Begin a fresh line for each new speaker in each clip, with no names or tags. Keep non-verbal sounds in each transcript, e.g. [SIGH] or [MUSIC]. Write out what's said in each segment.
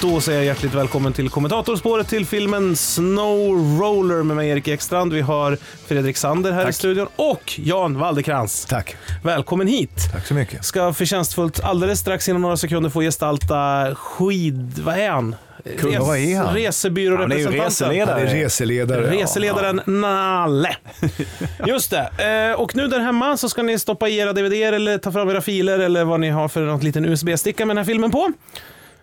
Då säger jag hjärtligt välkommen till kommentatorspåret till filmen Snow Roller med mig Erik Ekstrand. Vi har Fredrik Sander här i studion och Jan Waldekrans.
Tack.
Välkommen hit.
Tack så mycket.
Ska förtjänstfullt alldeles strax inom några sekunder få gestalta skid... Vad är han?
Kung, vad är han?
Han är ju
Resebyrårepresentanten.
Han är
reseledare.
reseledare.
Reseledaren
[LAUGHS]
Nalle. Just det. Eh, Och nu där hemma så ska ni stoppa i era DVDer eller ta fram era filer eller vad ni har för något liten USB-sticka med den här filmen på.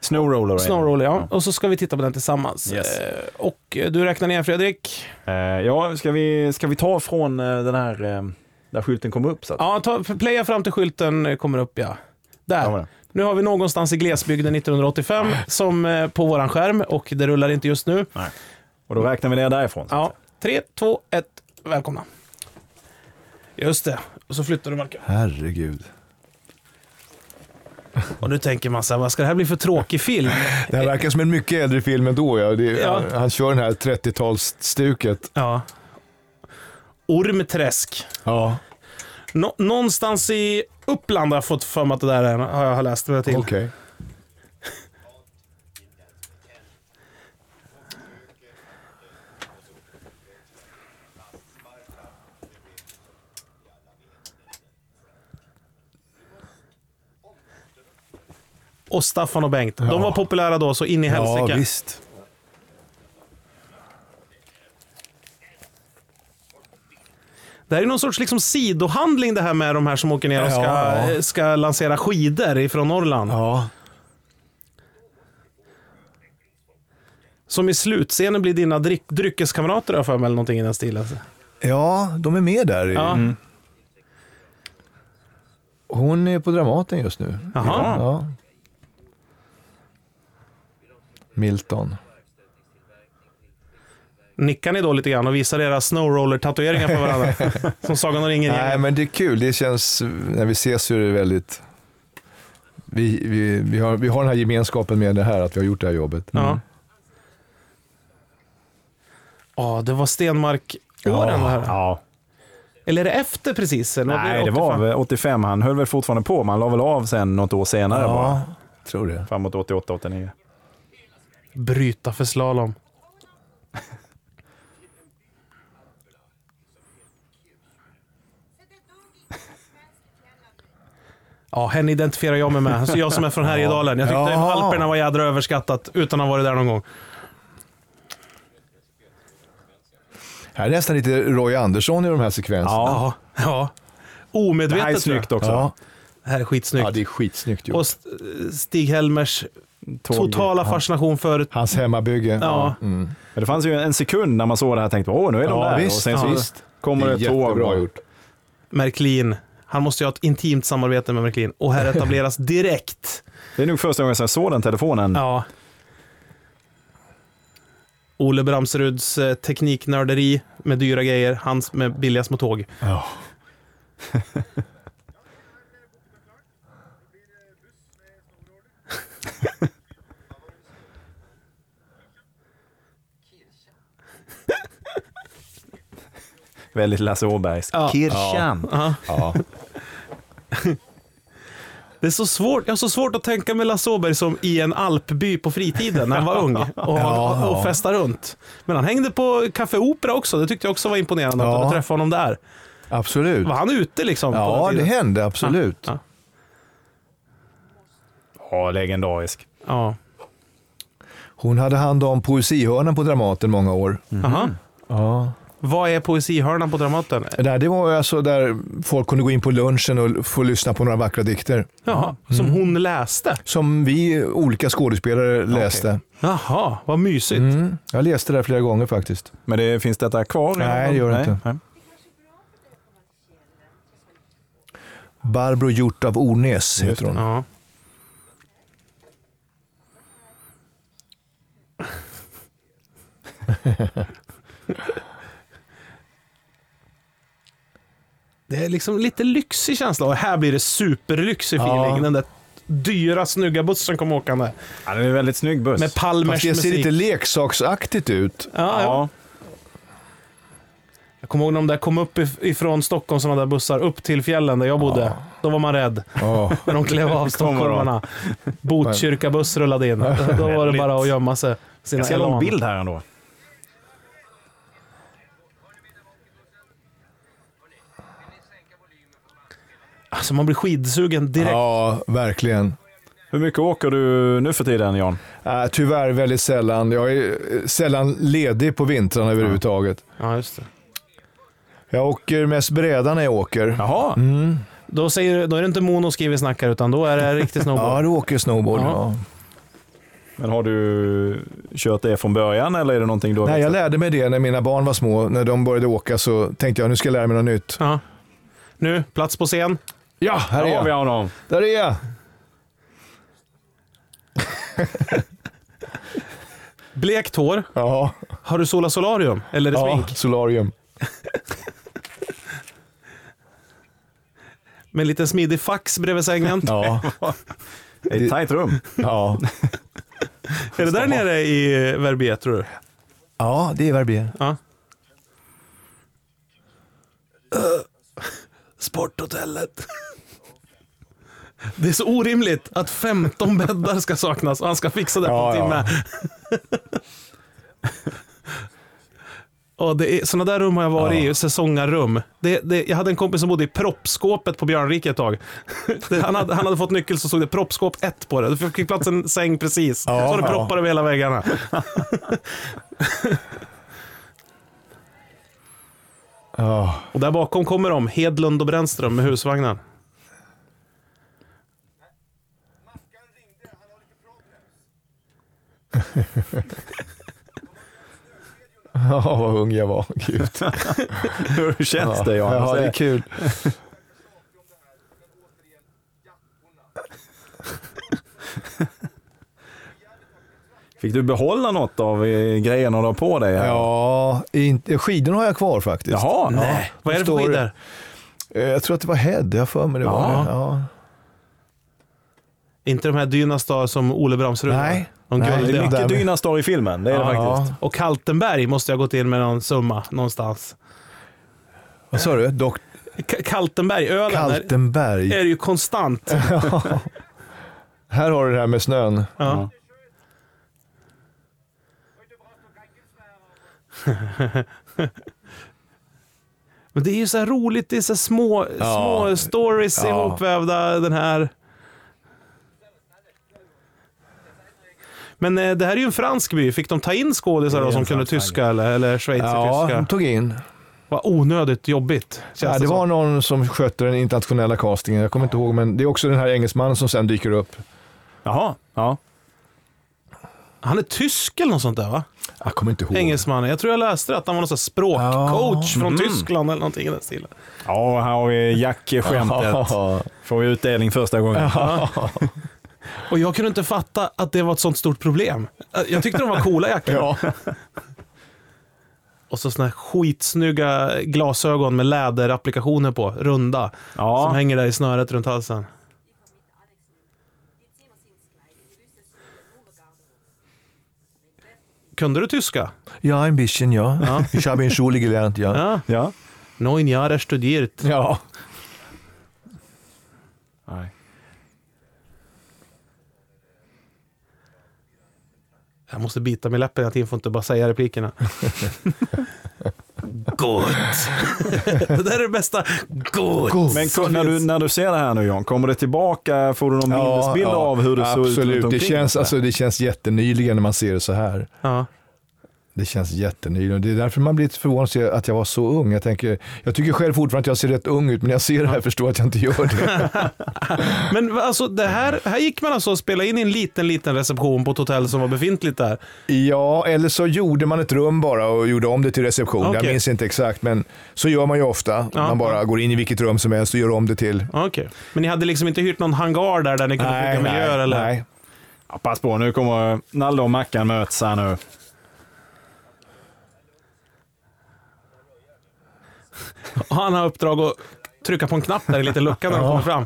Snowroller. är det.
Snowroller ja. Och så ska vi titta på den tillsammans.
Yes.
Eh, Och eh, du räknar ner Fredrik.
Eh, ja, ska vi, ska vi ta från eh, den här eh, där skylten kom upp? Så att,
Ja, ta, playa fram till skylten eh, kommer upp ja.
Ja,
Där.
men.
Nu har vi någonstans i glesbygden 1985 som eh, på våran skärm och det rullar inte just nu.
Och då räknar vi ner därifrån. så att
Ja, 3, 2, 1, välkomna. Just det, och så flyttar du Marcus.
Herregud.
Och nu tänker man så här, vad ska det här bli för tråkig film?
Det här verkar som en mycket äldre film ändå. Ja. Det,
Ja.
han, han kör den här 30-talsstuket.
[LAUGHS] Ja. Ormträsk.
Ja.
Nå- någonstans i Uppland har jag fått för mig att det där är, har jag har läst mig till.
Okej.
Och Staffan och Bengt. De var populära då så in i
Ja,
helsike.
visst.
Det här är någon sorts liksom sidohandling det här med de här som åker ner och ska,
Ja.
eh, ska lansera skidor ifrån Norrland.
Ja.
Som i slutscenen blir dina dryck, dryckeskamrater har jag för mig, eller någonting i den stilen.
Mm. ja, de är med där.
Ja.
Hon är på Dramaten just nu.
Jaha.
Ja. Milton.
Nickar ni då lite grann och visar era snowroller-tatueringar för
[LAUGHS]
varandra? som Sagan om ringen
Nej, men det är kul. Det känns, när vi ses så är det väldigt... Vi, vi, vi, har, vi har den här gemenskapen med det här, att vi har gjort det här jobbet. Mm.
Ja. Ja, det var Stenmark-åren det här.
Ja.
Eller är det efter precis? Eller
Nej, det var
85?
väl 85. Han höll väl fortfarande på, men han la väl av sen något år senare bara.
Ja, tror det.
Framåt 88, 89.
Bryta för slalom. Ja, henne identifierar jag mig med. Så jag som är från Härjedalen. Jag tyckte
Jaha.
Alperna var jädra överskattat utan att ha varit där någon gång.
Här är nästan lite Roy Andersson i de här sekvenserna.
Ja,
Ja.
det här är
Omedvetet. tror jag.
snyggt också.
ja.
Det här är skitsnyggt.
Ja, det är skitsnyggt gjort.
Och St- Stig Helmers
Tåg.
totala fascination för...
Hans hemmabygge. Mm.
Ja.
Men det fanns ju en sekund när man såg det här och tänkte, åh, nu är de
Ja,
där.
visst,
och sen så
ja.
visst, kommer det ett
Jättebra
tåg.
gjort.
Märklin. Han måste ju ha ett intimt samarbete med Märklin och här etableras direkt.
Det är nog första gången jag såg den telefonen.
Ja. Ole Bramseruds eh, tekniknörderi med dyra grejer, hans med billiga små tåg.
Ja.
Väldigt Lasse Åbergsk.
Ja.
Kirchen.
[LAUGHS]
Ja.
Det är så svårt, jag har så svårt att tänka mig Lasse Åberg som i en alpby på fritiden när han var
[LAUGHS]
ung och,
Ja,
och,
ja.
festade runt. Men han hängde på Café Opera också, det tyckte jag också var imponerande att
Ja.
han hade träffat honom där.
Absolut.
Var han ute liksom? på den
Ja, det
tiden?
hände absolut.
Ja.
Ja, legendarisk.
Ja.
Hon hade hand om poesihörnan på Dramaten många år.
Aha.
Mhm. Ja.
Vad är poesihörnan på Dramaten?
Nej, det var ju alltså där folk kunde gå in på lunchen och få lyssna på några vackra dikter.
Jaha, som
Mm.
hon läste.
Som vi olika skådespelare läste.
Jaha, vad mysigt.
Mm. Jag läste det här flera gånger faktiskt.
Men det, finns detta kvar?
Nej, det gör det inte.
nej.
Barbro Hjort av Ornäs heter hon.
Ja. [LAUGHS] Det är liksom lite lyxig känsla och här blir det superlyxig feeling.
Ja.
Den där dyra snygga bussen kom åkande
Ja, det är en väldigt snygg buss.
med Palmers
Fast det ser
musik. [LAUGHS]
lite leksaksaktigt ut.
ja, ja.
ja.
Jag kommer ihåg när de där kom upp if- ifrån Stockholm, sådana där bussar, upp till fjällen där jag bodde.
Ja.
Då var man rädd
Ja.
när de klev av stockholmarna. Botkyrkabuss rullade in. Då var det bara att gömma sig. Sina
Ganska lång
elan.
bild här ändå.
Alltså man blir skidsugen direkt.
ja, verkligen.
Hur mycket åker du nu för tiden Jan?
Äh, tyvärr väldigt sällan. Jag är eh, sällan ledig på vintrarna överhuvudtaget.
Ja, just det.
Jag åker mest bräda när jag åker.
Jaha,
Mm.
Då, säger, då är det inte monoskiv vi snackar, utan då är det riktigt
[LAUGHS] Ja,
snowboard.
du åker snowboard.
Ja.
Ja.
men har du kört det från början eller är det någonting du har
Nej, jag
växt
lärde mig det när mina barn var små. När de började åka så tänkte jag nu ska jag lära mig något nytt.
Ja. Nu, plats på scen.
Ja, här
upp-
är
Där har vi
jag.
honom.
Där är jag.
Blekt hår.
Ja,
Har du sola solarium? Eller är det
ja
smink?
solarium.
Med en liten smidig fax bredvid sängen.
Ja,
Det är ett tajt rum.
[LAUGHS] ja.
Är det där nere i Verbier, tror du?
ja det är Verbier.
Ja. [LAUGHS] Sporthotellet. Det är så orimligt att 15 bäddar ska saknas och han ska fixa det på en
Ja, ja.
timme. Och det är, såna där rum har jag varit i, säsongarrum. Det, det, jag hade en kompis som bodde i proppskåpet på Björnrike ett tag. [LAUGHS] Det, han, hade, han hade fått nyckel så stod det proppskåp 1 på det. Du fick plats en säng precis.
Ja,
så var det
ja.
proppar över hela väggarna.
[LAUGHS] Ja.
Och där bakom kommer de, Hedlund och Brännström med husvagnar.
Ja, vad ung jag var. [LAUGHS] Gud.
Hur känns
Ja.
det Jan?
Ja, det är
Alltså,
kul.
Fick du behålla något av eh, grejerna du har på dig? Här?
Ja, inte, skidorna har jag kvar faktiskt.
Jaha,
Nej. Vad är det för
förstår du.
skidor?
Eh, Jag tror att det var Head, jag har för mig det var
Ja.
det. Ja.
Inte de här Dynastar som Ole Bramsrud
Nej.
De
Nej,
det är
guldiga.
där
mycket
med.
Dynastar i filmen, det är det
Ja.
faktiskt.
Och Kaltenberg måste jag ha gått in med någon summa någonstans.
Vad sa du? Dok-
K- Kaltenberg, ölen, där
Kaltenberg.
Eh.
är det ju konstant.
Här har du det här med snön.
Ja. [LAUGHS] Men det är ju så här roligt, det är så här små,
Ja.
små stories
Ja.
ihopvävda. Den här. Men eh, det här är ju en fransk by. Fick de ta in skådisar
Det
då
är
som
en
kunde
fransk
tyska eller, eller
Ja,
schweizertyska?
de tog in.
Vad onödigt jobbigt. känns
Ja, det
som.
var någon som skötte den internationella castingen, jag kommer inte ihåg, men det är också den här engelsmannen som sen dyker upp.
Jaha, ja.
Han är tysk eller något sånt där va?
Jag kommer inte ihåg.
Engelsmannen. Jag tror jag läste det, att han var någon sån här språkcoach från
Mm.
Tyskland eller någonting i den stilen.
Ja, här har vi Jack-skämtet.
Ja.
Får vi utdelning första gången.
Och jag kunde inte fatta att det var ett sånt stort problem. Jag tyckte de var coola jackor.
[LAUGHS] Ja.
Och så såna här skitsnygga glasögon med läderapplikationer på, runda. Som
Ja,
hänger där i snöret runt halsen. Kunde du tyska?
ja, ein bisschen ja. [LAUGHS] Ich habe in Schule gelernt, ja.
Ja.
ja.
Neun Jahre studiert.
Ja.
Nej.
Jag måste bita mig i läppen att jag får inte bara säga replikerna. Gott! det där är det bästa. Gott!
Men ko- när du, när du ser det här nu Jan, kommer det tillbaka? Får du någon minnesbild av hur det såg ut? runt
absolut. Det
omkring?
känns, alltså, det känns jättenyligen när man ser det så här.
Ja.
Det känns jättenyligen. Det är därför man blir lite förvånad att jag var så ung. Jag, tänker, jag tycker själv fortfarande att jag ser rätt ung ut, men när jag ser det här förstår jag att jag inte gör det.
Men va- alltså, det här, här gick man alltså och spelade in i en liten, liten reception på ett hotell som var befintligt där.
Ja, eller så gjorde man ett rum bara och gjorde om det till reception. Jag
Okej.
minns inte exakt, men så gör man ju ofta.
Ja.
Man bara går in i vilket rum som helst och gör om det till.
Ja, Okej. Men ni hade liksom inte hyrt någon hangar där, där ni kunde bygga miljöer?
nej,
eller?
nej.
Ja, pass på, nu kommer Nalle och Mackan möts här nu.
Och han har uppdrag att trycka på en knapp där i lite lucka när de
Ja.
kommer fram.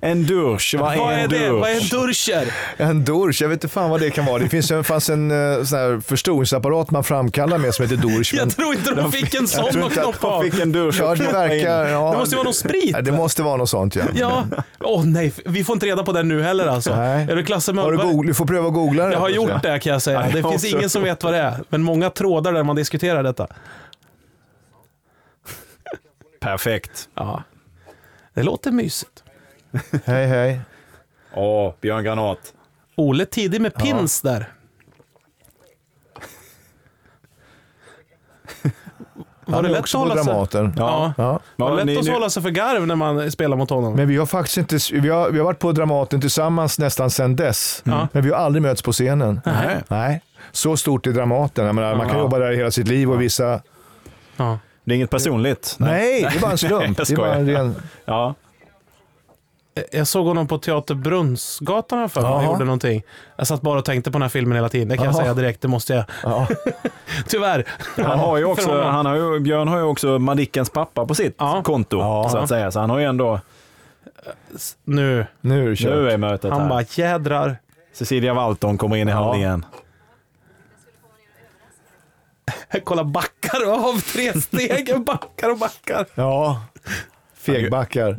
En dusch, vad är
Vad är
en
det? Vad
dusch?
är durscher?
En dorsch, jag vet inte fan vad det kan vara. Det finns ju fanns en eh, sån här förstoringsapparat man framkallar med som heter dorsch.
[LAUGHS]
Men
Jag tror inte de fick en
jag
sån
tror
att
inte att
knoppa
Jag
av.
fick en dusch
ja,
och
det
knoppa in.
verkar... Ja,
Det måste ju vara någon sprit.
Ja, det måste vara något sånt ja.
Ja. Åh nej, vi får inte reda på det nu heller alltså.
Nej.
Är du klasse med
Har du, googl- du får pröva att googla det.
Jag har gjort det kan jag säga.
Nej,
Det
jag
finns
också.
ingen som vet vad det är, men många trådar där man diskuterar detta.
Perfekt.
Ja. Det låter mysigt.
Hej hej.
Åh, Björn Granat.
Ole tidig med pins där. Var
Han
det
är
lätt att
också på
hålla sig?
Dramaten.
Ja.
Ja.
Var
Ja,
det
ni-
lätt att
ni-
hålla sig för garv när man spelar mot honom?
Men vi har faktiskt inte, vi har, vi har varit på Dramaten tillsammans nästan sedan dess.
Ja.
Men vi har aldrig mötts på scenen.
Nej.
Nej. Så stort är Dramaten. Jag menar, man kan
Ja.
jobba där hela sitt liv och vissa...
Ja.
Det är inget personligt.
[LAUGHS] Nej, det är bara en
Nej,
slump.
jag
det är bara en ren...
Ja.
Jag såg honom på Teater Brunnsgatan här för mig. Han
Jaha.
gjorde någonting. Jag satt bara och tänkte på den här filmen hela tiden. Det kan jag
Jaha.
säga direkt. Det måste jag.
[LAUGHS] Ja.
Tyvärr.
Han har ju
För
också,
honom.
han har ju, Björn har ju också Madickens pappa på sitt
Ja.
konto,
Ja.
så att säga. Så han har ju ändå,
Nu.
Nu är det kört.
nu är mötet
Han
här.
bara jädrar.
Cecilia Walton kommer in i handlingen.
[LAUGHS] Kolla, backar av tre [LAUGHS] steg. Backar och backar.
Ja. Fegbackar.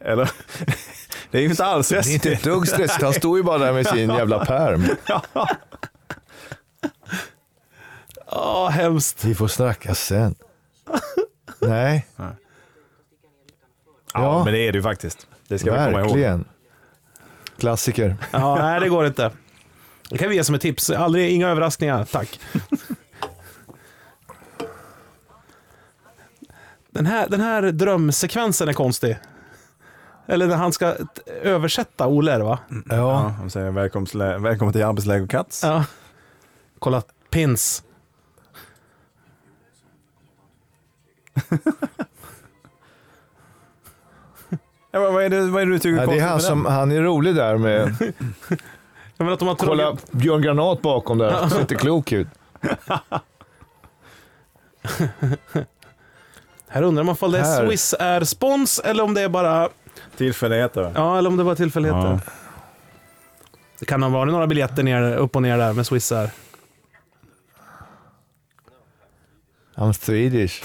Eller? Det är ju inte alls
Det är inte ett
stressigt.
dugg stressigt. Han står ju bara där med sin jävla perm.
Åh, hemskt.
Vi får snacka sen. Nej,
Ja, men det är det ju faktiskt. Det ska vi komma ihåg.
verkligen. Klassiker.
Ja, nej, det går inte. Det kan vi ge som ett tips. Aldrig, inga överraskningar, tack. [LAUGHS] Den här, den här drömsekvensen är konstig. Eller när han ska t- översätta Ole, är det va?
Mm. Ja.
Ja, de säger välkomstlä- välkommen till arbetsläger Katz.
Ja. Kolla, pins.
Ja, vad, vad, är det, vad är det du tycker
Nej, det är
konstigt
han
med
som,
den?
han är rolig där med,
Jag menar att de har
kolla
dragit-
Björn Granat bakom där, han ser inte klok ut.
Här undrar man om det är
Här.
Swiss är spons eller om det är bara,
Tillfälligheter.
ja, eller om det bara är tillfälligheter.
Ja.
Det kan ha varit några biljetter ner, upp och ner där med Swiss Air.
I'm Swedish.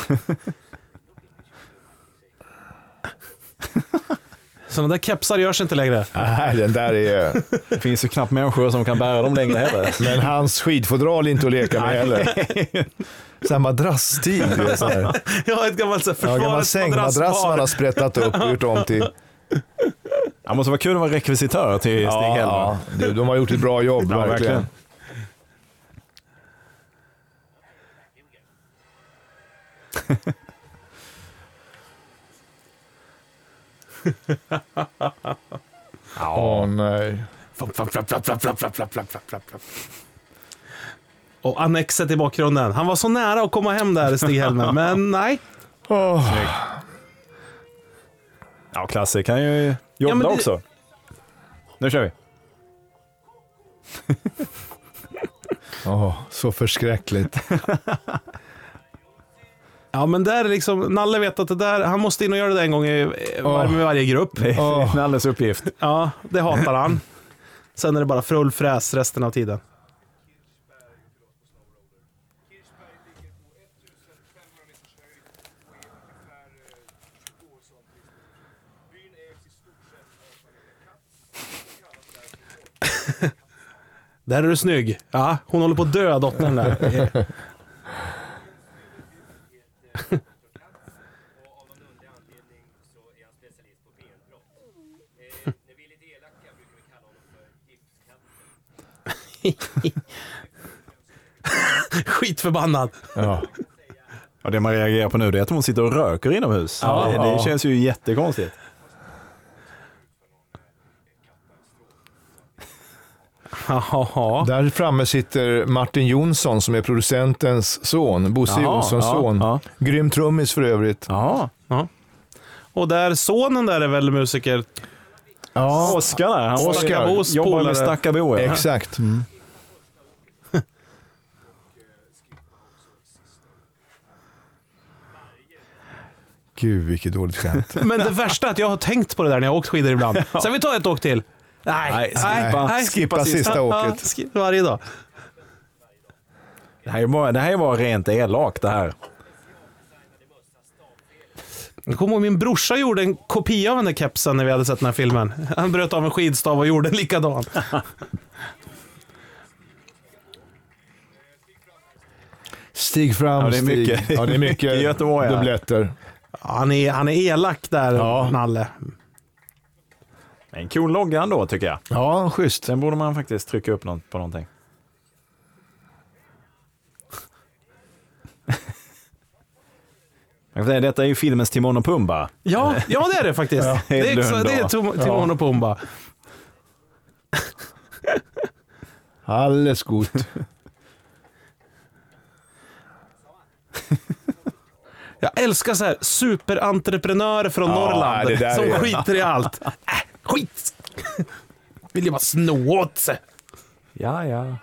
Sådana där kepsar görs inte [LAUGHS] längre.
Nej, den där är...
Det finns ju knappt människor som kan bära dem
[LAUGHS]
längre heller.
Men hans skidfodral är inte att leka med heller. Så här madrassstil. du vet, så här.
Jag har ett gammalt så här,
Ja, gammal
försvarets
sängmadrass man
madrasspar.
har sprättat upp och gjort om till...
Det måste vara kul att vara rekvisitör till Stig Hellman.
du, de har gjort ett bra jobb,
Ja, verkligen.
verkligen. [LAUGHS] Åh nej.
Och annexet i bakgrunden. Han var så nära att komma hem där, Stig [LAUGHS] Helmer, men nej.
Åh.
Ja, Klasse kan ju jobba
men det-
också. Nu kör vi.
Åh, så förskräckligt.
Ja, men där är liksom, Nalle vet att det där, han måste in och göra det en gång i, i-
Åh.
med varje grupp.
Det är
Åh.
Nalles uppgift.
Ja, det hatar han. Sen är det bara full fräs resten av tiden. Där är du snygg. Ja, hon håller på att dö, dottern där.
och av någon underlig anledning så är han specialist på benbrott. Eh, när vi är lite elaka brukar vi kalla honom för gipskatten.
Skitförbannad.
Ja.
Ja, det man reagerar på nu det är att hon sitter och röker inomhus.
Ja.
det, det känns ju jättekonstigt.
Jaha.
Där framme sitter Martin Jonsson som är producentens son, Bosse
Jaha,
Jonssons
ja,
son.
ja.
Grym trummis för övrigt.
Ja.
Och där sonen där är väl musiker?
Ja,
Oskar där, han
Oskar
Boos
jobbar
polare.
med Stackarbo. ja.
exakt. Mm.
[LAUGHS]
Gud, vilket dåligt skämt.
Men det värsta är att jag har tänkt på det där när jag har åkt skidor
[LAUGHS]
ibland. Sen vi tar ett åk till. Nej,
Nej, skippa.
Skippa sista åket.
skippa varje dag.
Det här är bara, det här är bara rent elakt det här.
Jag kommer ihåg min brorsa gjorde en kopia av den där kepsen när vi hade sett den här filmen. Han bröt av en skidstav och gjorde en likadan.
Stig fram,
Ja, det är
Stig.
mycket.
Ja, det är
[LAUGHS]
mycket
I Göteborg, ja.
dubbletter.
Ja, Han är, han är elak där,
Ja.
Nalle.
En cool logga ändå tycker jag.
Ja, schysst.
Sen borde man faktiskt trycka upp något på någonting. Jag får säga, Detta är ju filmens Timon och Pumba.
Ja, ja det är det faktiskt.
Ja,
det är,
Hedlund
så- det är
då.
Tim- Timon och Pumba.
Alles gut.
[LAUGHS]
Jag älskar så här superentreprenörer från
Ja, det
Norrland
där
som
är-
skiter i allt. Äh, skit! Vill ju bara sno åt sig.
Ja, ja.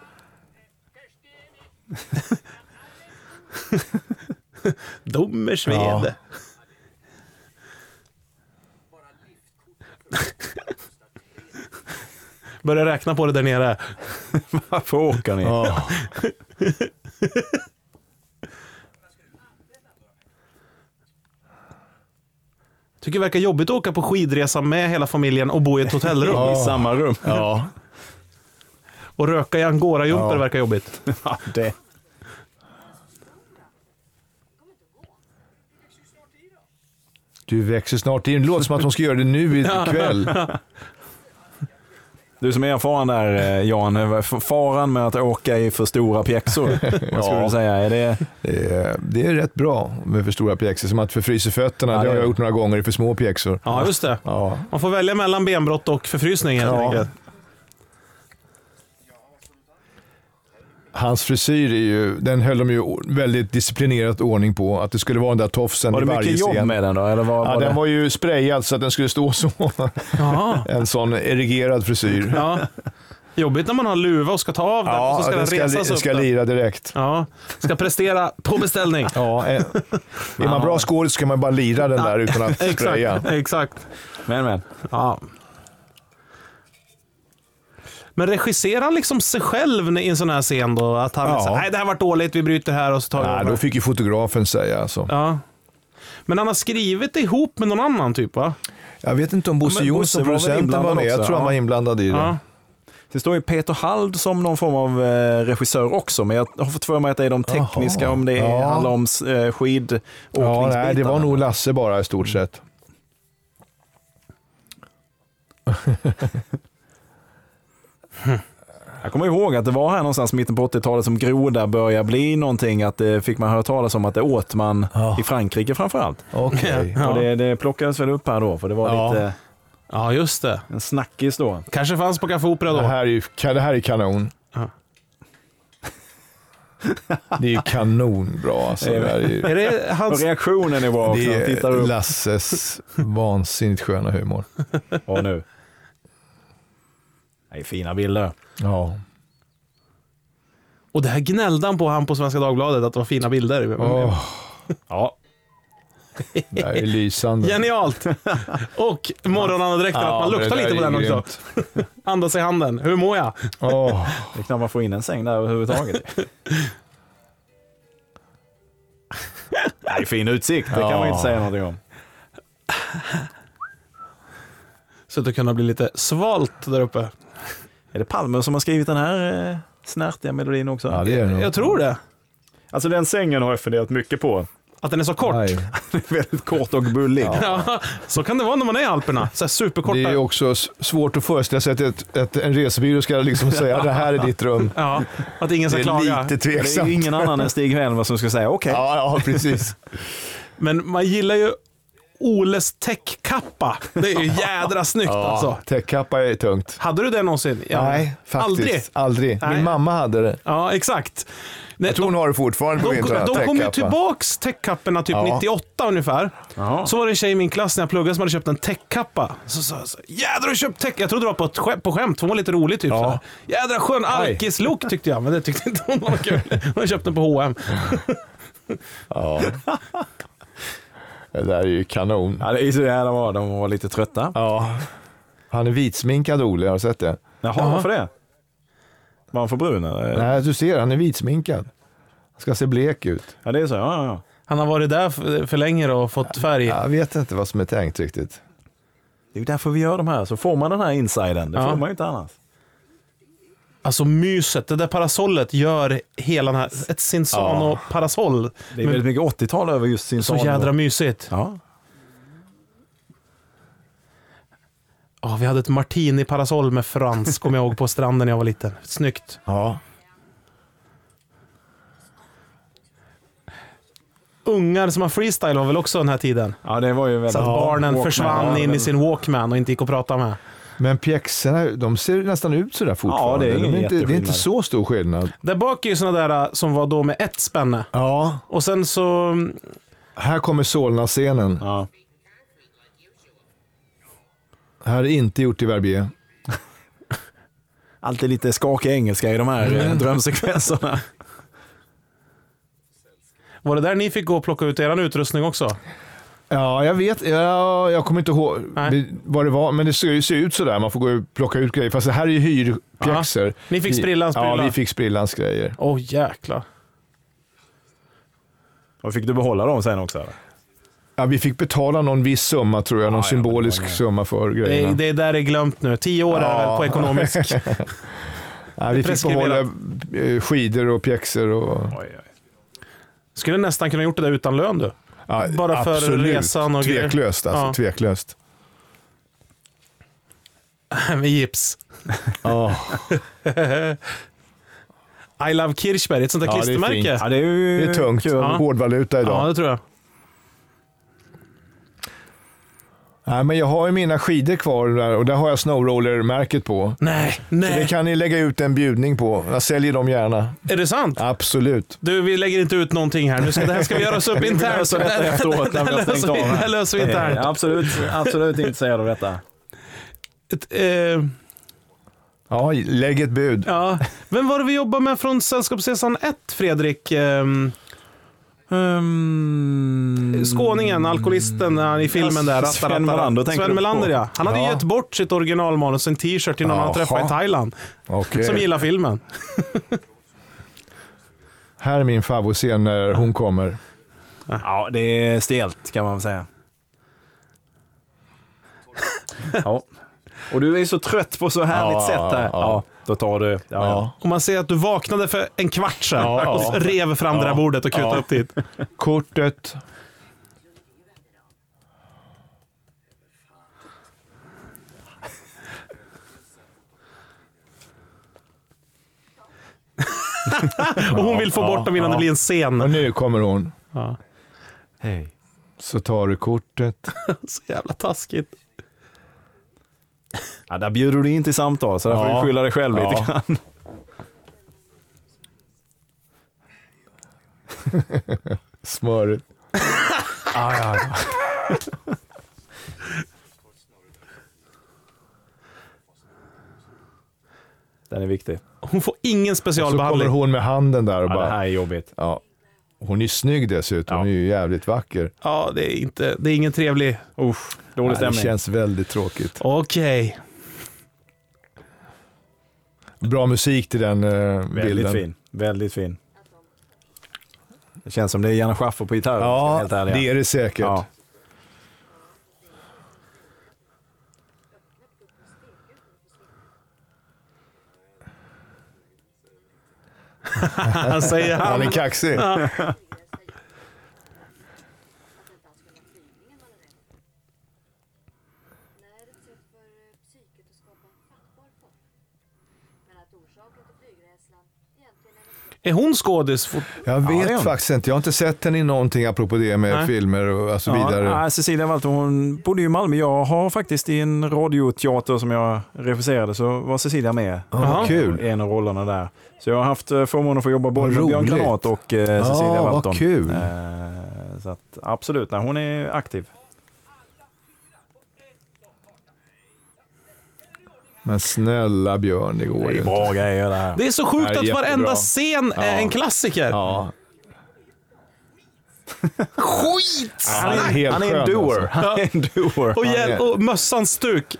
Dommersved.
Ja.
[LAUGHS] Börja räkna på det där nere.
Varför åker ni?
Ja.
Tycker det verkar jobbigt att åka på skidresa med hela familjen och bo i ett hotellrum.
I samma rum.
ja.
Och röka i angorajumper
Ja.
verkar jobbigt.
Ja, det.
Du växer snart in. Låter som att hon ska göra det
[LAUGHS]
nu ikväll.
Du som är erfaren där eh, Jan, eh, f- faran med att åka i för
[LAUGHS]
stora pjäxor. Vad skulle du säga? Är det...
Det är, det är rätt bra med för stora pjäxor. Som att förfrysa fötterna,
Ja,
det
det
har
är
jag
det.
gjort några gånger i för små pjäxor.
Ja, just det.
Ja.
Man får välja mellan benbrott och förfrysning helt
Ja.
enkelt.
Hans frisyr är ju, den höll de ju o- väldigt disciplinerat ordning på. Att det skulle vara den där tofsen
Var
i
det
varje
mycket jobb
scen.
med den då? Eller var,
Ja,
var det...
den var ju sprayad så att den skulle stå så. [LAUGHS]
Ja.
En sån erigerad frisyr.
ja. Jobbigt när man har luva och ska ta av den och så ska den
den
resas
ska,
upp.
ska
där.
lira direkt.
Ja, ska prestera på beställning.
Ja, eh, är man bra skådis så kan man bara lira den där utan att spraya.
[LAUGHS] Exakt, exakt.
Men, men.
Ja. Men regisserar han liksom sig själv i en sån här scen då? Att han
Ja.
säger nej det här vart dåligt, vi bryter här och så tar vi
Nej,
över."
då fick ju fotografen säga. Alltså.
ja. Men han har skrivit det ihop med någon annan typ va?
Jag vet inte om Bosse
Men Bosse
Jonsson,
var väl
producenten, var
inblandad
med. Jag
också,
tror han
ja.
var inblandad i det.
Ja.
Det står ju Peter Hald som någon form av eh, regissör också, men jag har fått för mig att det är de tekniska,
Jaha.
om det är,
Ja.
handlar om eh,
Ja,
skidåkningsbitarna.
nej, det var nog Lasse bara i stort sett.
Jag kommer ihåg att det var här någonstans i mitten på 80-talet som groda började bli någonting, att det fick man höra talas om att det åt man
Ja.
i Frankrike framförallt.
Okej.
Ja.
Och det, det plockades väl upp här då, för det var
Ja. Alltså,
lite
ja, just det.
en snackis då.
Kanske fanns på Café Opera
Det,
då.
här är ju, ka- det här är kanon.
Ja.
[LAUGHS] Det är ju kanonbra. Alltså. Det här är ju,
Är det
Och
hans...
reaktionen är bra också.
det
Tittar
är
upp.
Lasses vansinnigt sköna humor.
Ja, nu. Det är fina bilder.
Ja.
Och det här gnällde han på, han på Svenska Dagbladet, att det var fina bilder.
Åh,
Ja,
[LAUGHS]
det här är lysande.
Genialt! Och morgonandedräkten, att man
men
luktar
det där
lite på
är
den också.
grymt.
Andas i handen. Hur mår jag?
Åh,
det är knappt man får in en säng där överhuvudtaget.
[LAUGHS]
Nej, fin utsikt, det kan man ju inte säga någonting om.
Så att det kunde bli lite svalt där uppe.
Är det Palme som har skrivit den här eh, snärtiga melodin också?
Ja, det är det nog.
Jag tror det.
Alltså den sängen har jag funderat mycket på.
Att den är så kort.
Nej.
Väldigt kort och bullig.
[LAUGHS] Ja, så kan det vara när man är i Alperna. Så här superkorta.
Det är ju också s- svårt att föreställa sig att ett, ett, en resebyrå ska liksom säga det här är ditt rum.
Ja, att ingen
Det
ska klaga.
är lite
Det är ju
tveksamt.
ingen annan än Stig Helmer som ska säga okej.
Ja, ja,
[LAUGHS]
precis.
Men man gillar ju Oles täckkappa. Det
[LAUGHS]
är ju jädra snyggt alltså.
Ja, Täckkappa är tungt.
Hade du det någonsin? Ja.
Nej, faktiskt.
Aldrig?
Aldrig.
Nej.
Min mamma hade det.
Ja, exakt. Nej,
Jag tror hon har det fortfarande på
de,
vintern.
de kom ju
täckkappa.
tillbaks täckkapporna typ
Ja.
98 ungefär.
Jaha.
Så var det en tjej i min klass när jag pluggade som hade köpt en täckkappa. Så sa jag så här, jädrar du har köpt täck... Jag trodde det var på, ett skämt, på skämt, hon var lite rolig typ.
Ja.
så här. Jädra skön
Aj.
alkislook tyckte jag, men det tyckte inte hon
[LAUGHS]
var kul. Hon köpte den på H&M.
Ja. Det där är ju kanon.
Ja, det är så jävla bra. De var lite trötta.
Ja. Han är vitsminkad, Ole. Har du sett det?
Jaha, varför det? Var han för brun eller?
Nej, du ser. Han är vitsminkad. Han ska se blek ut.
Ja, det är så. Ja, ja, ja.
Han har varit där för, för länge då och fått färg.
Jag vet inte vad som är tänkt riktigt.
Det är ju därför vi gör de här. Så får man den här insiden. Det
Ja.
får man ju inte annars.
Alltså myset, det där parasollet gör hela den här, ett Cinzano-parasoll.
Det är väldigt mycket 80-tal över just sin
Så jädra mysigt.
Ja.
Ja, vi hade ett martini-parasoll med Frans, kommer jag ihåg, på stranden när jag var liten. Snyggt.
Ja.
Ungar som har freestyle var väl också den här tiden?
ja, det var ju väldigt...
Så att
Ja,
barnen
Walkman.
försvann
Ja,
in i
men-
sin Walkman och inte gick att prata med.
Men pjäxorna, de ser nästan ut sådär fortfarande.
Ja, det är ingen
de inte, det är inte
jätteskillnad.
så stor skillnad.
Där bak är ju sådana där äh, som var då med ett spänne.
Ja.
Och sen så... mm,
Här kommer Solna-scenen.
Ja.
Här är inte gjort i Verbier.
Alltid lite skakig engelska i de här mm. drömsekvenserna.
Var det där ni fick gå och plocka ut er utrustning också?
Ja, jag vet. Ja, jag kommer inte ihåg
Nej.
vi- vad det var, men det ser, ju- ser ut sådär. Man får gå och plocka ut grejer. Fast det här är ju hyrpjäxor.
Ni fick
Vi-
sprillans
Ja,
prylar.
vi fick sprillans grejer.
Åh jäklar.
[LAUGHS] Och fick du behålla dem sen också? Eller?
Ja, vi fick betala någon viss summa tror jag, någon
ja,
symbolisk
men det var
summa för
Det,
grejerna.
är- det är där det är glömt nu. Tio år är väl
Ja.
på ekonomisk.
ja, vi fick behålla
preskriberat.
eh, skidor och pjäxor. Och...
Oj, oj.
Skulle nästan kunna gjort det där utan lön du.
Ja,
Bara för
absolut.
resan och grejer.
Tveklöst alltså,
Ja.
tveklöst.
Med gips.
Ja.
I love Kirchberg, ett sånt där
Ja, det är
klistermärke.
fint.
Ja, det är ju
Det är tungt.
Kul.
Ja.
Hårdvaluta idag.
Ja, det tror jag.
Nej, men jag har ju mina skidor kvar där, och där har jag snowroller-märket på.
Nej,
Det
nej.
kan ni lägga ut en bjudning på. Jag säljer dem gärna.
Är det sant?
Absolut.
Du, vi lägger inte ut någonting här. Nu ska, det här ska vi göra oss upp
Vi
internt.
[LAUGHS] löser detta efteråt när vi har
Det här löser
stängt
vi-
av
det här
här.
löser vi internt.
Eh, Absolut, absolut intresserad av detta.
Ett, eh,
Ja, lägg ett bud.
ja. Vem var det vi jobbade med från Sällskapsresan 1, Fredrik? Ehm,
Mm.
Mm.
Skåningen, alkoholisten han i filmen där.
Ja, Sven Melander tänker
Sven
du på?
Melander ja. Han hade ju
Ja.
gett bort sitt originalmanus, en t-shirt till någon han
Jaha.
träffade i Thailand.
Okej.
Som gillar filmen.
Här är min favoritscen när hon kommer.
Ja, det är stelt kan
[LAUGHS]
man säga. Ja. Och du är så trött på så härligt
Ja,
sätt där.
ja,
Ja,
ja.
då tar du. Ja, ja.
Och man ser att du vaknade för en kvart sedan
Ja,
och
ja.
rev fram det där bordet och kutade upp dit.
Kortet.
Och hon vill få bort dem innan det blir en
Och
scen. [LAUGHS]
nu kommer hon.
Hej.
Så tar du kortet.
Så jävla taskigt.
Ja, där bjuder du in till samtal, så där får
Ja.
du skylla dig själv lite
Ja.
grann. [LAUGHS]
Smör.
Den är viktig.
Hon får ingen
Så kommer
specialbehandling.
hon med handen där och
Ja, det
bara...
här är jobbigt.
Ja. Hon är snygg dessutom. Hon är ju jävligt vacker.
Ja, det är, inte, det är ingen trevlig...
Usch,
Ja,
dålig
det
stämning.
känns väldigt tråkigt.
Okej.
[LAUGHS] Bra musik till den eh,
Väldigt
bilden.
fin. Väldigt fin. Det känns som det är Janne Schaffer på gitarr. ska jag
Ja,
helt ärlig.
det är det säkert.
Ja.
Han säger
Han
han.
är kaxig.
är ett sätt för eh, psyket att skapa en fattbar form. Men att orsaken till flygrädslan egentligen är en
Är hon skådis? Fort-
Jag
Ja,
vet
det är hon.
faktiskt inte. Jag har inte sett henne i någonting apropå det med
Nej.
filmer och alltså vidare.
Ja, nej, Cecilia Walter, hon bodde ju i Malmö. Jag har faktiskt i en radioteater som jag regisserade så var Cecilia med.
Ja,
Jaha.
vad kul.
I en av rollerna där. Så jag har haft eh, förmånen att få jobba både
Vad
med Björn
roligt.
Granat och eh, Cecilia
Ja, vad
Walton.
kul.
Eh, så att, absolut, nej, hon är aktiv.
Men snälla Björn, det går
Det
ju
är
inte.
bra grejer det här.
Det är så sjukt
Nej,
att
jättebra.
varenda scen är en klassiker.
Ja. Skit!
Han är, alltså. han är en doer.
alltså.
Han [LAUGHS] är en doer.
Och,
Ja,
hjäl-
det-
och mössans stuk.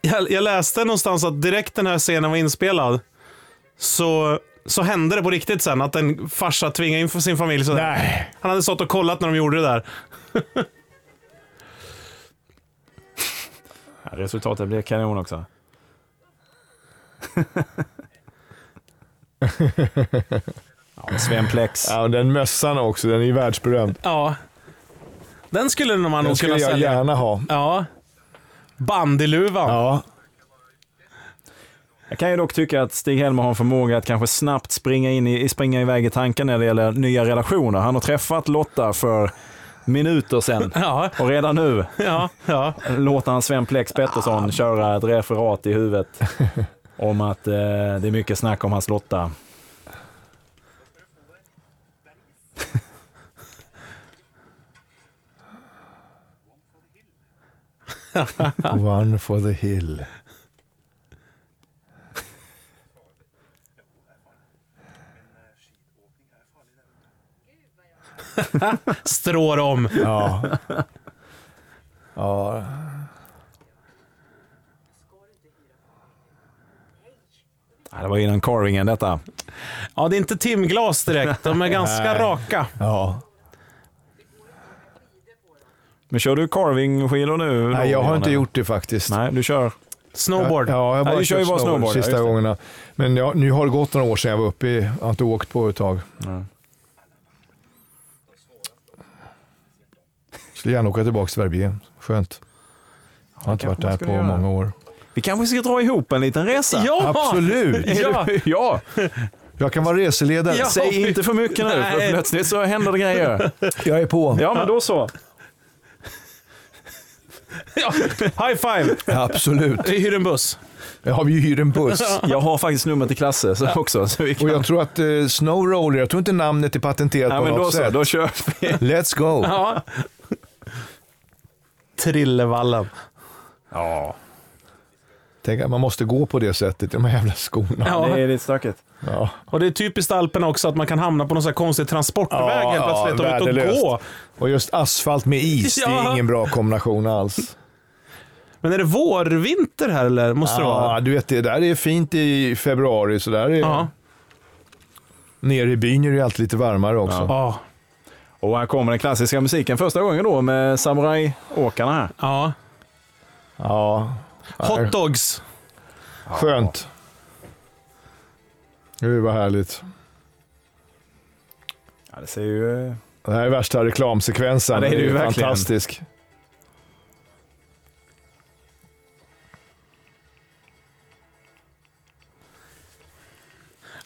jag, jag läste någonstans att direkt den här scenen var inspelad så, så hände det på riktigt sen att en farsa tvingade in för sin familj. Så
Nej.
han hade stått och kollat när de gjorde det där.
Ja, Resultatet blir kanon [LAUGHS] också. ja, Sven Plex.
Ja, och den mössan också, den är ju världsberömd.
Ja. Den skulle man
Den
nog
skulle
kunna
jag
sälja.
gärna
[LAUGHS]
ha.
Ja. Bandyluvan.
Ja,
Jag kan ju dock tycka att Stig-Helmer har en förmåga att kanske snabbt springa, in i, springa iväg i tanken när det gäller nya relationer. Han har träffat Lotta för minuter sedan.
Ja,
Och redan nu
ja, ja.
låter han Sven Plex Pettersson
Ah.
köra ett referat
[LAUGHS]
i huvudet om att eh, det är mycket snack om hans Lotta.
One for the hill.
Strår om.
Ja. ja.
Ja, det var innan carvingen detta.
Ja, det är inte timglas direkt. De är ganska raka.
[LAUGHS]
ja.
Men kör du carvingskidor nu? då,
Nej, jag har
Johan,
inte
eller?
gjort det faktiskt.
Nej, du kör.
Snowboard.
Ja, jag har
Ja,
bara
du kör ju
kört
bara snowboard, ja,
sista
just det.
gångerna. Men ja, nu har det gått några år sedan jag var uppe i, jag har inte åkt på ett tag.
Ja.
Skulle gärna åka tillbaka till Verbier. Skönt. Jag har inte varit
kanske
där
man skulle
på
göra.
många år.
Vi kanske ska dra ihop en liten resa?
Ja!
Absolut!
[LAUGHS] Ja.
[LAUGHS] ja.
Jag kan vara reseledare.
Ja.
[LAUGHS]
Säg inte för mycket nu, för
Nej.
plötsligt så händer det grejer.
Jag är på.
Ja, men då så.
Ja. High five!
[LAUGHS] Absolut.
Vi hyr en buss.
Jag har ju hyrt en buss.
Jag har faktiskt numret till Klasse så också. Så vi kan...
Och jag tror att eh, Snow Roller, jag tror inte namnet är patenterat
Nej,
på
men
något
då så, [LAUGHS]
sätt.
då kör vi.
Let's go!
Ja. Trillevallen.
Ja,
Tänk att man måste gå på det sättet i de här jävla skorna.
Ja.
det är lite stökigt.
Ja.
Och det är typiskt Alperna också att man kan hamna på någon sån här konstig transportväg helt plötsligt och ut och
värdelöst.
gå.
Och just asfalt med is, det
Ja.
är ingen bra kombination alls.
Men är det vårvinter här eller? Måste det
Ja,
vara?
Ah, du vet, det där är fint i februari, så där är
Ja.
Nere i byn är det ju alltid lite varmare också.
Ja.
Och här kommer den klassiska musiken första gången då med samurajåkarna här.
ja.
Ja,
Hot dogs.
skönt. Gud vad härligt.
Ja, det ser ju... eh,
Det här är värsta reklamsekvensen.
Ja, det är det ju verkligen.
Fantastisk.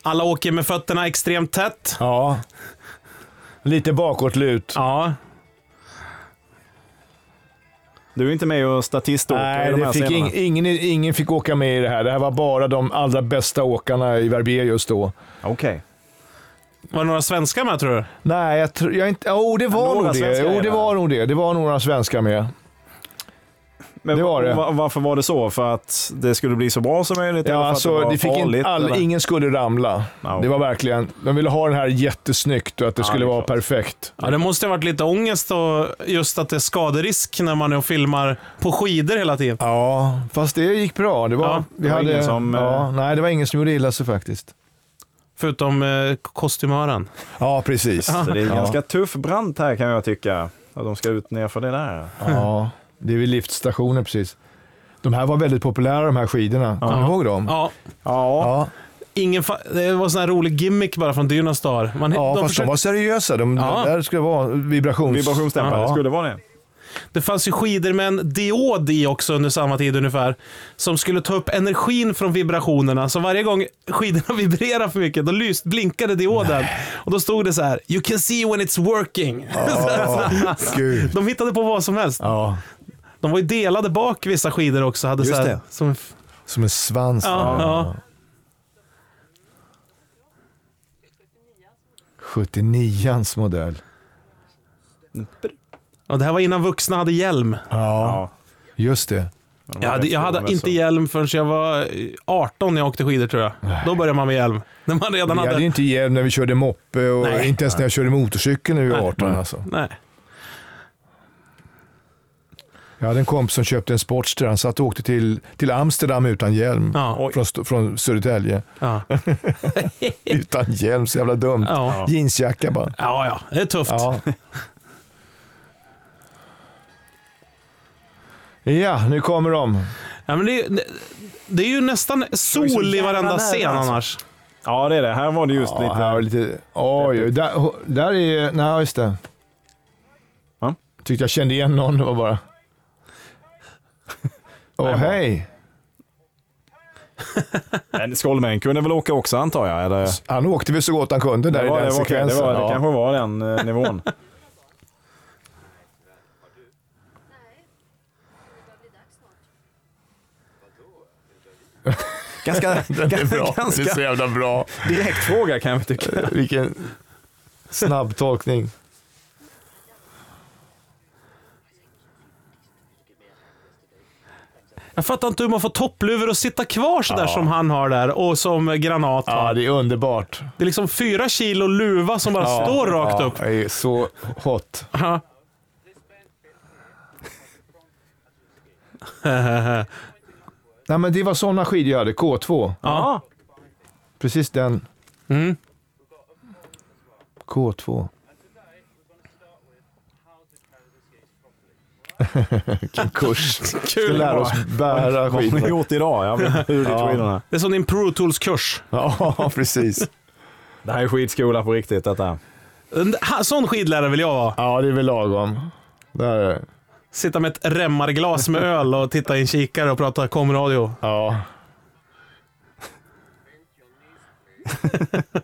Alla åker med fötterna extremt tätt.
Ja. Lite bakåtlut.
Ja.
Du är inte med och statiståker i
Nej,
de här
det fick
scenerna.
ing, ingen, ingen fick åka med i det här. Det här var bara de allra bästa åkarna i Verbier just då.
Okej.
Var det några svenskar med tror du?
Nej, jag tror jag inte... Oh, det var
några
nog det.
svenskar är
Jo,
det.
det var nog det. Det var några svenskar med.
Men
Det var det.
va- varför var det så? För att det skulle bli så bra som möjligt? eller
Ja,
för att
alltså,
var
det fick
farligt,
in, all,
eller?
ingen skulle ramla.
Ja,
Det var verkligen... De ville ha den här jättesnyggt och att det
Ja,
skulle
det är
vara
klart.
perfekt.
Ja, det måste ha varit lite ångest och just att det är skaderisk när man är och filmar på skidor hela tiden.
Ja, fast det gick bra. Det var,
Ja,
vi
det var
hade,
ingen som,
ja,
eh,
Nej, det var ingen som gjorde illa sig faktiskt.
Förutom eh, kostymören.
Ja, precis.
Så det är en
[LAUGHS] Ja.
ganska tuff brant här kan jag tycka. Att de ska ut ner för det där.
Ja, det är vid liftstationen precis. De här var väldigt populära de här skidorna. Kommer ni ihåg dem?
Ja,
Ja,
Ja,
ingen fa- det var en sån här rolig gimmick bara från Dynas dagar. Man, de
ja fast
försökte-
de var seriösa. De,
Ja.
Där skulle vara vibrations...
vibrationsdämpare. Det
Ja.
skulle vara det.
Det fanns ju skidor med en diod i också under samma tid ungefär. Som skulle ta upp energin från vibrationerna. Så varje gång skidorna [LAUGHS] vibrerade för mycket, då lyst, blinkade dioden. Och då stod det så här, “You can see when it's working”.
Ja, gud.
[LAUGHS] de hittade på vad som helst.
Ja,
De var ju delade bak vissa skidor också. Hade
Just
så här,
det.
Som,
som en svans.
ja, ja.
79ans modell.
Och det här var innan vuxna hade hjälm.
Ja,
Ja.
just det.
Men de
Jag
var
hade, jag
rätt stora
hade
väl, så.
inte hjälm förrän jag var 18 när jag åkte skidor tror jag. Då började man med hjälm. När man redan
Vi hade ju
hade...
inte hjälm när vi körde moppe och
Nej.
inte ens när jag körde motorcykel när vi var
Nej.
18. Alltså.
Nej.
Jag hade en kompis som köpte en Sportster. Han satt och åkte till, till Amsterdam utan hjälm.
Ja.
Från, St- från Södertälje.
Ja.
Utan hjälm, så jävla dumt.
Ja.
Jeansjacka bara.
ja, ja. Det är tufft.
Ja. ja, [LAUGHS] nu kommer de.
Ja, men det, är, ju- det är ju nästan sol i
jävla
varenda
nära,
scen
alltså.
annars.
Ja, det är det. Här var det just
Ja,
lite...
här var lite... Oj, oj, där, där är... Nej, just det.
Va?
Tyckte jag kände igen någon, det var
[LAUGHS]
bara... Åh, hej!
Men Skolmen kunde väl åka också antar jag? Eller?
Han åkte väl så gott han kunde där
Det, var,
i
det,
den
var, det,
sekvensen.
var, det
ja.
kanske var den
[LAUGHS]
eh, nivån.
Nej, det börjar bli dags snart.
[LAUGHS]
Ganska,
Det är bra. Det är så
ganska
jävla bra.
direkt fråga kan jag tycka.
[LAUGHS] Vilken snabb tolkning.
Jag fattar inte hur man får toppluvor och sitta kvar sådär som han har där och som Granat har.
Ja, det är underbart.
Det är liksom fyra kilo luva som bara
Ja,
står rakt
ja,
upp.
Det är så hot.
Ja.
Nej, men det var sådana skidor jag hade, K2.
Ja.
Precis den.
Mm.
K2. [LAUGHS] Vilken [LAUGHS] kurs. Ska
Kul.
lära oss bära
Vad har ni
skidor.
gjort idag? Jag vet inte hur det är skidorna.
Det är som din Pro Tools-kurs.
Ja, [LAUGHS] precis.
Det här är skidskola på riktigt detta.
En ha- Sån skidlärare vill jag vara.
Ja, det är väl lagom. Där är det.
Sitta med ett remmarglas med öl och titta i en kikare och prata komradio.
Ja. [LAUGHS]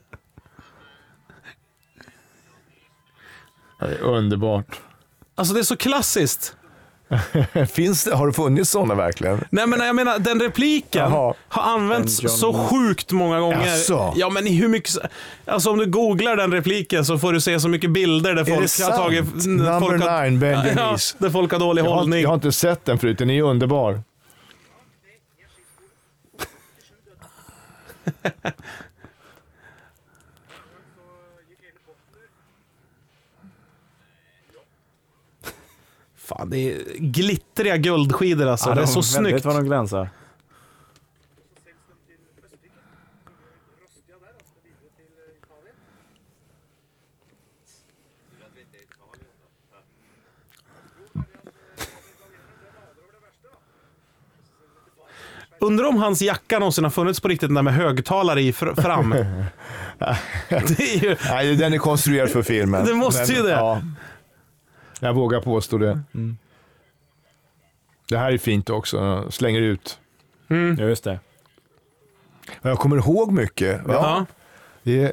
Det är underbart.
Alltså det är så klassiskt.
Finns det, har det funnits sådana verkligen?
Nej men jag menar, den repliken
Jaha.
har använts
Den John-
så sjukt många gånger.
Jaså?
Ja men i hur mycket... Alltså om du googlar den repliken så får du se så mycket bilder där folk
det
har tagit...
sant?
n-
Number
folk har,
nine, Benjamin
ja,
Is.
Där folk har dålig
Jag har, inte-
hållning.
jag har inte sett den förut, den är underbar.
Fan, det är glittriga guldskidor alltså. det är så snyggt.
vad de glänsar.
Undrar om hans jacka någonsin har funnits på riktigt, den där med högtalare i fr-
[LAUGHS]
fram. [LAUGHS] det är ju...
Nej, den är konstruerad för filmen.
Det måste ju det. Mm.
Ja. Jag vågar påstå det. Det här är fint också, slänger ut. Mm.
Just det.
Jag kommer ihåg mycket. va?
Ja.
Det är,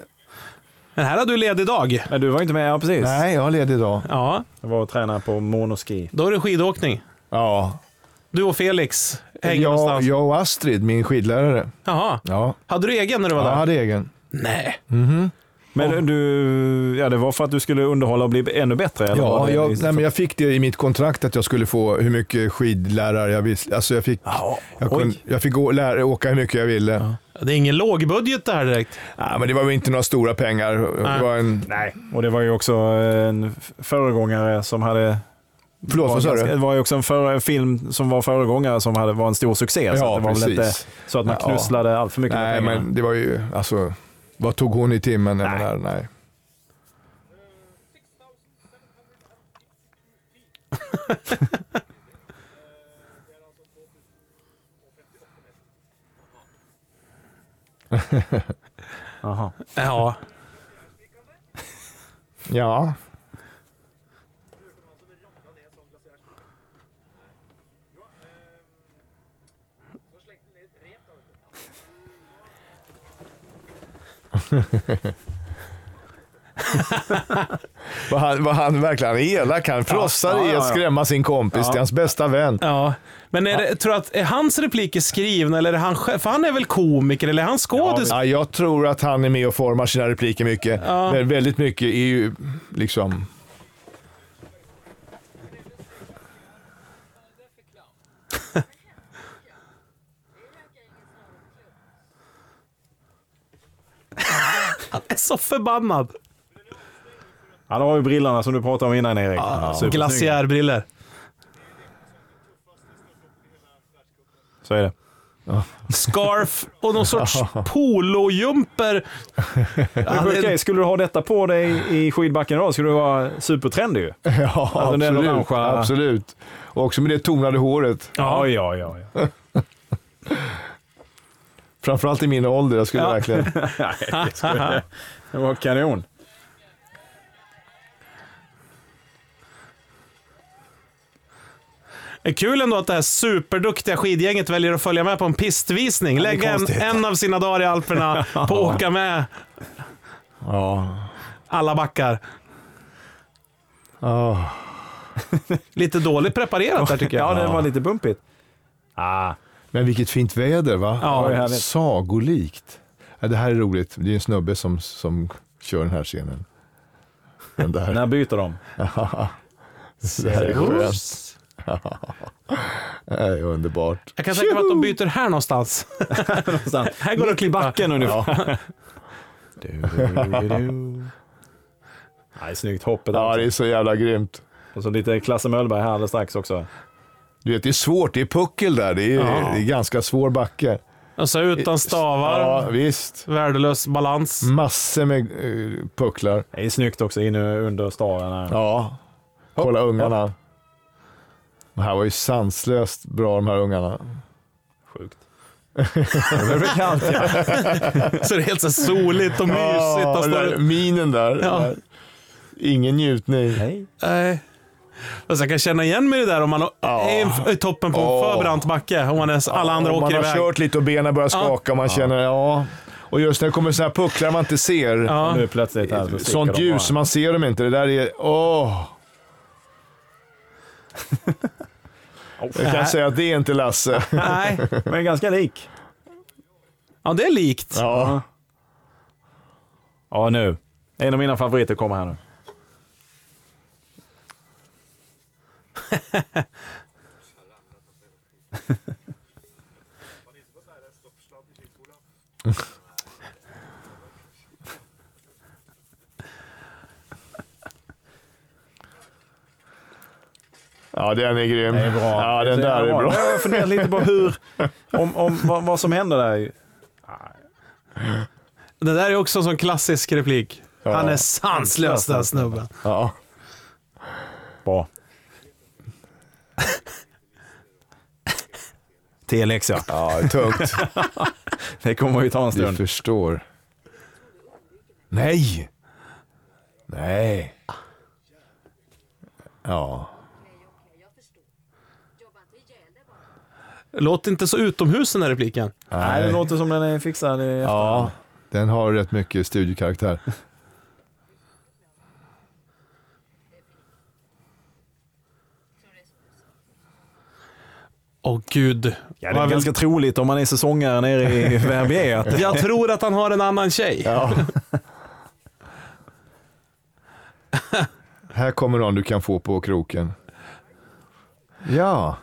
Men här har du ledig dag.
Men du var inte med, ja precis.
nej, jag har ledig idag.
Ja,
Jag var och tränade på monoski.
då är det skidåkning.
Ja.
Du och Felix hänger
Jag,
någonstans.
jag och Astrid, min skidlärare.
Jaha.
Ja.
Hade du egen när du var
Jag
där?
hade egen.
Nej.
Men du, ja det var för att du skulle underhålla och bli ännu bättre? Eller var
Ja,
det
jag,
just-
nej, men jag fick det i mitt kontrakt att jag skulle få hur mycket skidlärare jag ville. Alltså jag fick,
Ja,
jag
oj.
kunde, jag fick gå, lära, åka hur mycket jag ville.
Det är ingen lågbudget det här direkt.
Nej, men det var ju inte några stora pengar.
Nej.
Det var en,
Nej, och det var ju också eh, en föregångare som hade...
förlåt, vad sa
ganska- Det
du?
var ju också en, före- en film som var föregångare som hade, var en stor succé. så
Ja,
att det var väl
precis.
inte så att man
Ja.
knusslade allt för mycket
Nej,
med pengarna.
men det var ju, alltså, vad tog hon i timmen? Jag
Nej.
Menar, nej.
Jaha.
Ja.
Ja. [LAUGHS] Vad han, vad han verkligen elak. Han frossar
ja,
i
ja,
att
ja.
skrämma sin kompis. Det är hans bästa vän.
ja. Men är det, tror du att är hans repliker skrivna eller är det han själv? För han är väl komiker eller är han skådis?
Ja, jag tror att han är med och formar sina repliker mycket. Men väldigt mycket är ju liksom...
[LAUGHS]
Han är så förbannad.
Ja, då har vi brillorna som du pratade om innan Erik.
Ah,
Ja, supersnygg.
Glaciärbriller.
Så är det.
Scarf och någon sorts polojumper. Ja, han
Okej,
är-
skulle du ha detta på dig i skidbacken idag skulle du vara supertrendig ju.
Ja,
den där
absolut,
orangea-
absolut. Och också med det tonade håret.
Ja, ja, ja. ja.
Framförallt i min ålder. Jag skulle
Ja.
verkligen...
[LAUGHS]
Det var kanon.
Det är kul ändå att det här superduktiga skidgänget väljer att följa med på en pistvisning.
det är
Lägga en,
konstigt.
en av sina dagar i Alperna på att åka med
Ja.
alla backar.
Ja.
[LAUGHS] Lite dåligt preparerat där
[LAUGHS]
tycker jag.
Ja, det var lite bumpigt. Ah.
Men vilket fint väder va?
Ja, det är härligt.
Sagolikt. Ja, det här är roligt. Det är en snubbe som, som kör den här scenen. Den
[LAUGHS]
där.
När byter de?
det här är skönt. Det här är underbart.
Jag kan tänka mig att de byter här någonstans.
Här går det att klippa backen [LAUGHS] ungefär. Nej, snyggt hoppet
[LAUGHS]
där.
Ja,
också.
det är så jävla grymt.
Och så lite Klasse Möllberg här alldeles strax också.
Du vet, det är svårt. Det är puckel där. Det är, det är ganska svår backe.
Och så utan stavar,
Ja, visst.
värdelös balans.
Massor med eh, pucklar.
Det är snyggt också inne under staven. Ja.
Ja. Kolla ungarna. Det här var ju sanslöst bra de här ungarna.
Sjukt. Det blev kallt ja.
[LAUGHS] Så det är helt så soligt och mysigt.
Ja,
Han
den
står
där, minen där.
Ja.
Ingen njutning.
Nej.
Nej. Alltså jag kan känna igen mig i det där om man är i- i toppen på en
Ja.
för brant backe. Om man är, alla andra
Och
åker
man
iväg.
har kört lite och benen börjar skaka och man känner ja. Och just när det kommer sådana här pucklar man inte ser.
Ja.
Nu plötsligt här. så sticker
Sånt
de
ljus,
bara.
man ser dem inte. Det där är... Åh! Jag kan säga att det är inte Lasse.
[LAUGHS] Nej,
Men ganska lik.
ja, det är likt.
Ja.
Ja, nu. En av mina favoriter kommer här nu.
ja, den är grym.
Det är bra.
Mm. Ja, den
Det
där är bra.
Jag har funderat lite på hur, om, om, vad, vad som händer där.
Det där är också en sån klassisk replik. Han är sanslös den här snubben.
Ja. [LAUGHS]
Bra. Telex ja.
ja, det är tungt.
Det kommer ju ta en
Du
stund.
förstår. Nej! Nej. Ja.
Okej, okej, jag förstår. Jobba inte ihjäl dig bara.
Låter inte så utomhus den här repliken.
Nej, det låter som den är fixad. i-
Ja, den har rätt mycket studiokaraktär.
Åh gud.
Ja, det är ganska troligt om man är säsongare nere
[LAUGHS]
i Verbier. att-
Jag tror att han har en annan tjej.
Här kommer någon du kan få på kroken. Ja.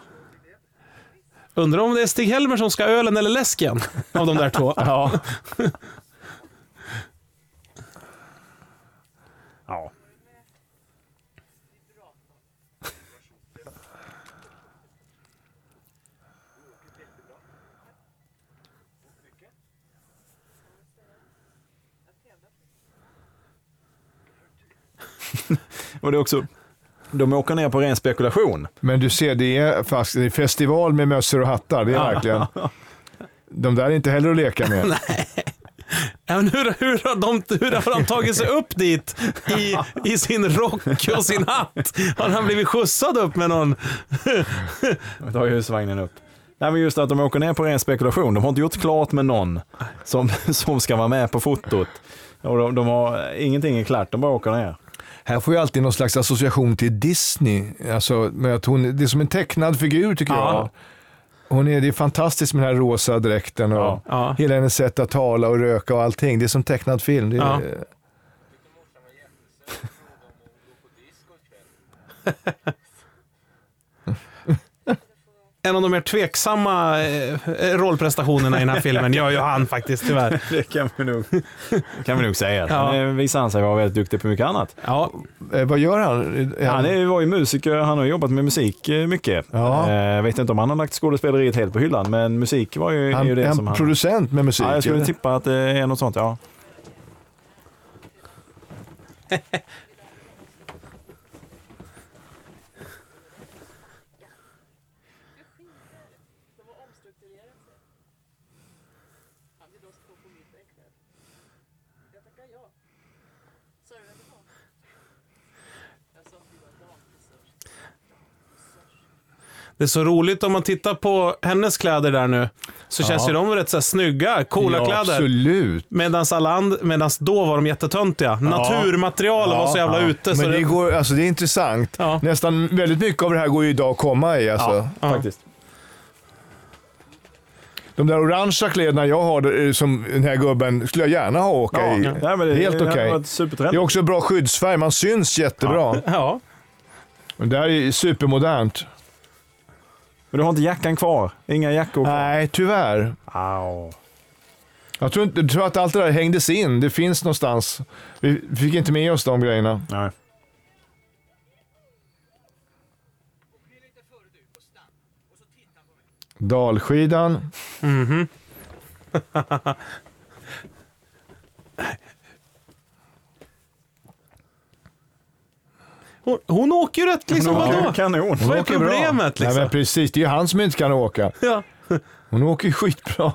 Undrar om det är Stig-Helmer som ska ha ölen eller läsken av de där två.
Ja.
Ja. Och det är också, de åker ner på ren spekulation.
Men du ser, det är, fast, det är festival med mössor och hattar. Det är verkligen. De där är inte heller att leka med.
Ja, men hur, hur, har de, hur har han tagit sig upp dit i, i sin rock och sin hatt? Har han blivit skjutsad upp med någon?
Vi tar ju husvagnen upp. Nej men just att de åker ner på ren spekulation. De har inte gjort klart med någon som, [LAUGHS] som ska vara med på fotot. Och de, de har, ingenting är klart, de bara åker ner.
Här får jag alltid någon slags association till Disney. Alltså, med att hon, det är som en tecknad figur tycker
Ja.
jag. Hon är, det är fantastiskt med den här rosa dräkten och
Ja.
Ja.
hela hennes sätt att tala och röka och allting. Det är som tecknad film. Det är,
Ja. en av de mer tveksamma eh, rollprestationerna i den här filmen gör ju han faktiskt, tyvärr.
Det kan vi nog, [LAUGHS] kan vi nog säga.
Ja.
Sen eh, visar han sig vara väldigt duktig på mycket annat.
Ja,
Eh, vad gör han? Är
Han är, var ju musiker, han har jobbat med musik eh, mycket.
Ja.
Eh, vet inte om han har lagt skådespeleriet helt på hyllan, men musik var ju,
han,
är ju det
är
som
han
han...
producent med musik?
ja, jag skulle
eller?
tippa att det är något sånt, ja.
De har omstrukturerat sig. Han vill då stå på mitt äktenskap. Jag tackar ja. Sa du vem det var? Jag sa att vi var damfrisörs.
det är så roligt om man tittar på hennes kläder där nu. Så känns ju de rätt så här, snygga, coola
ja,
kläder.
Absolut.
Medans alla and- medans då var de jättetöntiga. Naturmaterial var så jävla ute. Så
Men det,
det,
går, alltså, det är intressant.
Ja.
Nästan väldigt mycket av det här går ju idag att komma i. Alltså.
Ja.
faktiskt.
De där orangea kläderna jag har, eh, som den här gubben, skulle jag gärna ha och åka i.
Ja, men det,
Helt
det hade
okej.
varit
Det är
supertrendigt.
också bra skyddsfärg, man syns jättebra.
ja.
Men Det här är supermodernt.
Men du har inte jackan kvar? Inga jackor kvar?
Nej, tyvärr.
Au.
Jag tror, inte, jag tror att allt det där hängdes in. Det finns någonstans. Vi fick inte med oss de grejerna.
Nej.
Dalskidan.
Hon, hon åker ju rätt liksom, vadå?
Kanon.
Vad är problemet
Nej,
liksom?
men precis, det är ju han som inte kan åka.
Ja.
Hon åker ju skitbra.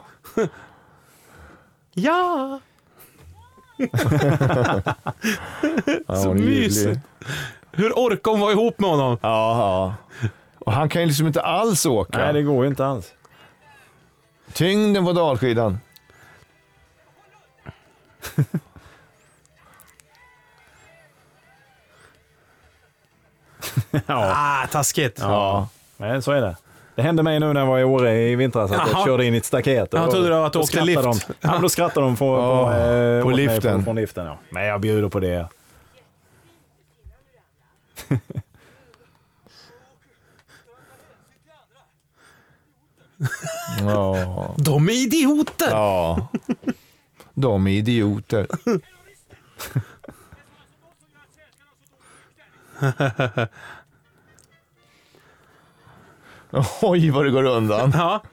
ja.
Ja,
Så
hon är ljuvlig.
mysigt. Hur orkar hon vara ihop med honom?
Ja, ja. Och han kan ju liksom inte alls åka.
Nej, det går ju inte alls.
Tyngden på dalskidan.
Ja.
Ah, taskigt.
ja. Nej, så är det. Det hände mig nu när jag var i Åre i vintras att
Jaha.
jag körde in i ett staket.
Jag trodde det var att du
då
åkte
skrattade
lift.
De. Ja, men då skrattade de på, på,
Ja,
eh,
på
åt mig
liften.
Från, från liften ja. Men jag bjuder på det.
Ja.
De är idioter!
ja. De är idioter. [LAUGHS] Oj, vad det går undan.
Ja.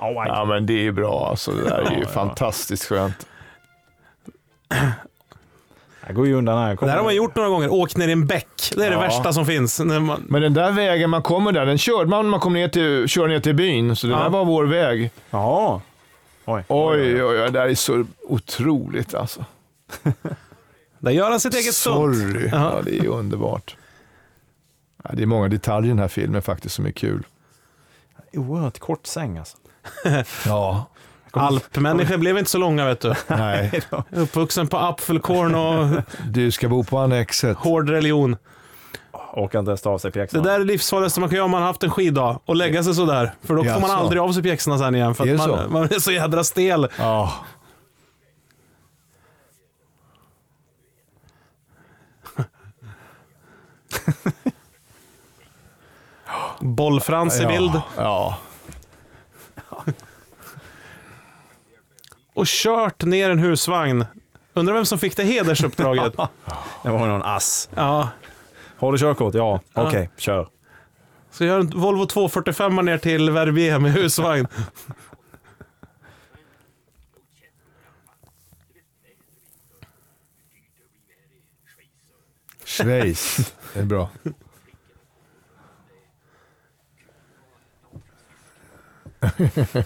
Oh,
Ja, men det är bra alltså. Det där är ju fantastiskt skönt.
Jag går ju undan här. Jag
Det
kommer-
här har man gjort några gånger. Åk ner i en bäck. Det är det
Ja.
värsta som finns. När man...
Men den där vägen man kommer där, den körde man när man kom ner till, kör ner till byn. Så det
Ja.
där var vår väg.
Ja. Oj.
Oj, oj, oj. Det där är så otroligt alltså.
Där gör han sitt eget stunt.
Sorry. Ja, det är underbart. Ja, det är många detaljer i den här filmen faktiskt som är kul.
Oerhört kort säng alltså.
Ja.
Alpmänniskor blev inte så långa vet du.
[LAUGHS] Nej,
Uppvuxen på apfelkorn och
[LAUGHS] du ska bo på Annexet.
hård religion.
Orkar inte ens ta av sig
Det
pjäxorna.
där är det livsfarligaste man kan göra om man har haft en skiddag och lägga sig sådär. För då får man
Jaså?
aldrig av sig pjäxorna sen igen. För
Är
att
det
man,
så?
man är så jädra stel.
Ja.
Bollfrans i bild.
Ja. ja.
[LAUGHS] Och kört ner en husvagn. Undrar vem som fick det
[LAUGHS]
hedersuppdraget?
Det var någon ass.
ja.
Har du körkort? Ja. Okej, kör.
Så gör en Volvo 245 ner till Verbier med husvagn.
[LAUGHS] Schweiz. Det är bra.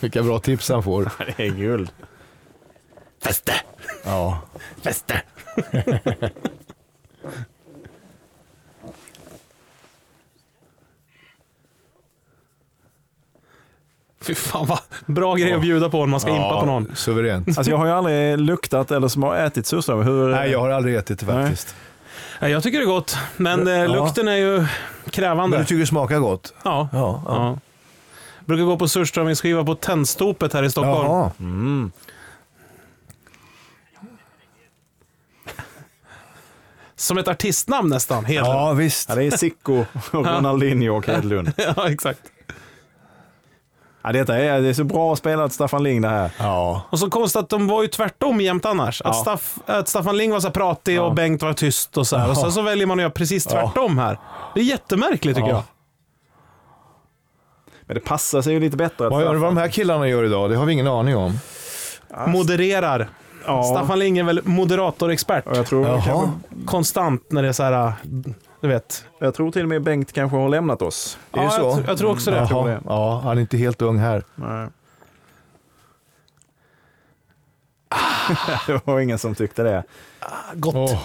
Vilka bra tips han får.
Det är guld.
Fäste!
Ja.
Fäste! Fy fan vad bra grej att bjuda på om man ska impa på någon.
Suveränt.
Alltså jag har ju aldrig luktat eller sm- ätit surströmming. Hur...
Nej, jag har aldrig ätit det faktiskt.
Nej, Jag tycker det är gott, men eh, lukten är ju krävande.
Men du tycker det smakar gott?
ja. Ja,
Ja. ja.
Brukar gå på surströmmingsskiva på Tennstopet här i Stockholm.
Jaha.
Som ett artistnamn nästan, Hedlund.
Ja, visst.
Ja, det är Sicko, Ronaldinho och Hedlund.
[LAUGHS] ja, exakt.
Ja, detta är, det är så bra spelat Staffan Ling det här.
Ja.
Och så konstigt att de var ju tvärtom jämt annars. Att,
Ja.
Staff, att Staffan Ling var så här pratig och Bengt var tyst och så här. Och sen så väljer man att göra precis tvärtom här. Det är jättemärkligt tycker
Ja.
jag.
Men det passar sig ju lite bättre. att
Vad gör
Staffan-
vad de här killarna gör idag? Det har vi ingen aning om.
Modererar.
Ja.
Staffan Ling är väl moderatorexpert.
Och jag, tror,
Jaha.
kanske,
Konstant när det är så här, du vet.
jag tror till och med Bengt kanske har lämnat oss.
Det är ju
ja,
så.
Jag, tr- jag tror också det.
Jaha.
tror det.
Ja, han är inte helt ung här.
Nej. [LAUGHS] det var ingen som tyckte det.
Gott.
Åh.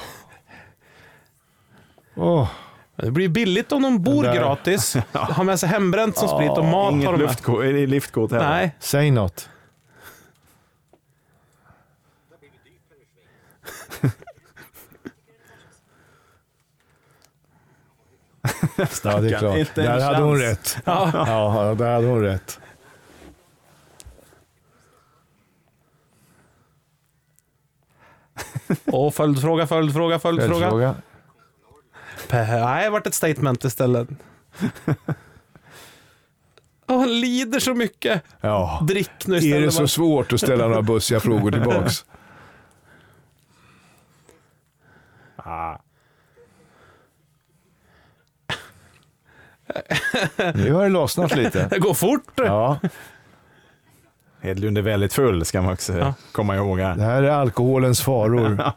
Åh.
Det blir billigt om de bor
Den där-
[LAUGHS]
gratis. Har med sig hembränt som sprit och mat har
Inget
de med.
luftkort, eh, liftkort heller.
Nej,
Säg något. Ja, det är klart.
Inte en
Där hade hon
chans.
rätt. Ja.
[LAUGHS]
ja, där hade hon rätt.
och följdfråga, följdfråga, följdfråga. följdfråga.
Följdfråga.
Nej, det vart ett statement istället. Åh, han lider så mycket.
Ja.
Drick nu istället.
Är det så svårt att ställa några bussiga frågor tillbaks?
Ah.
Nu har det lossnat lite.
Det går fort.
[LAUGHS] Ja,
Hedlund är väldigt full ska man också
Ja.
komma ihåg. Här.
det här är alkoholens faror.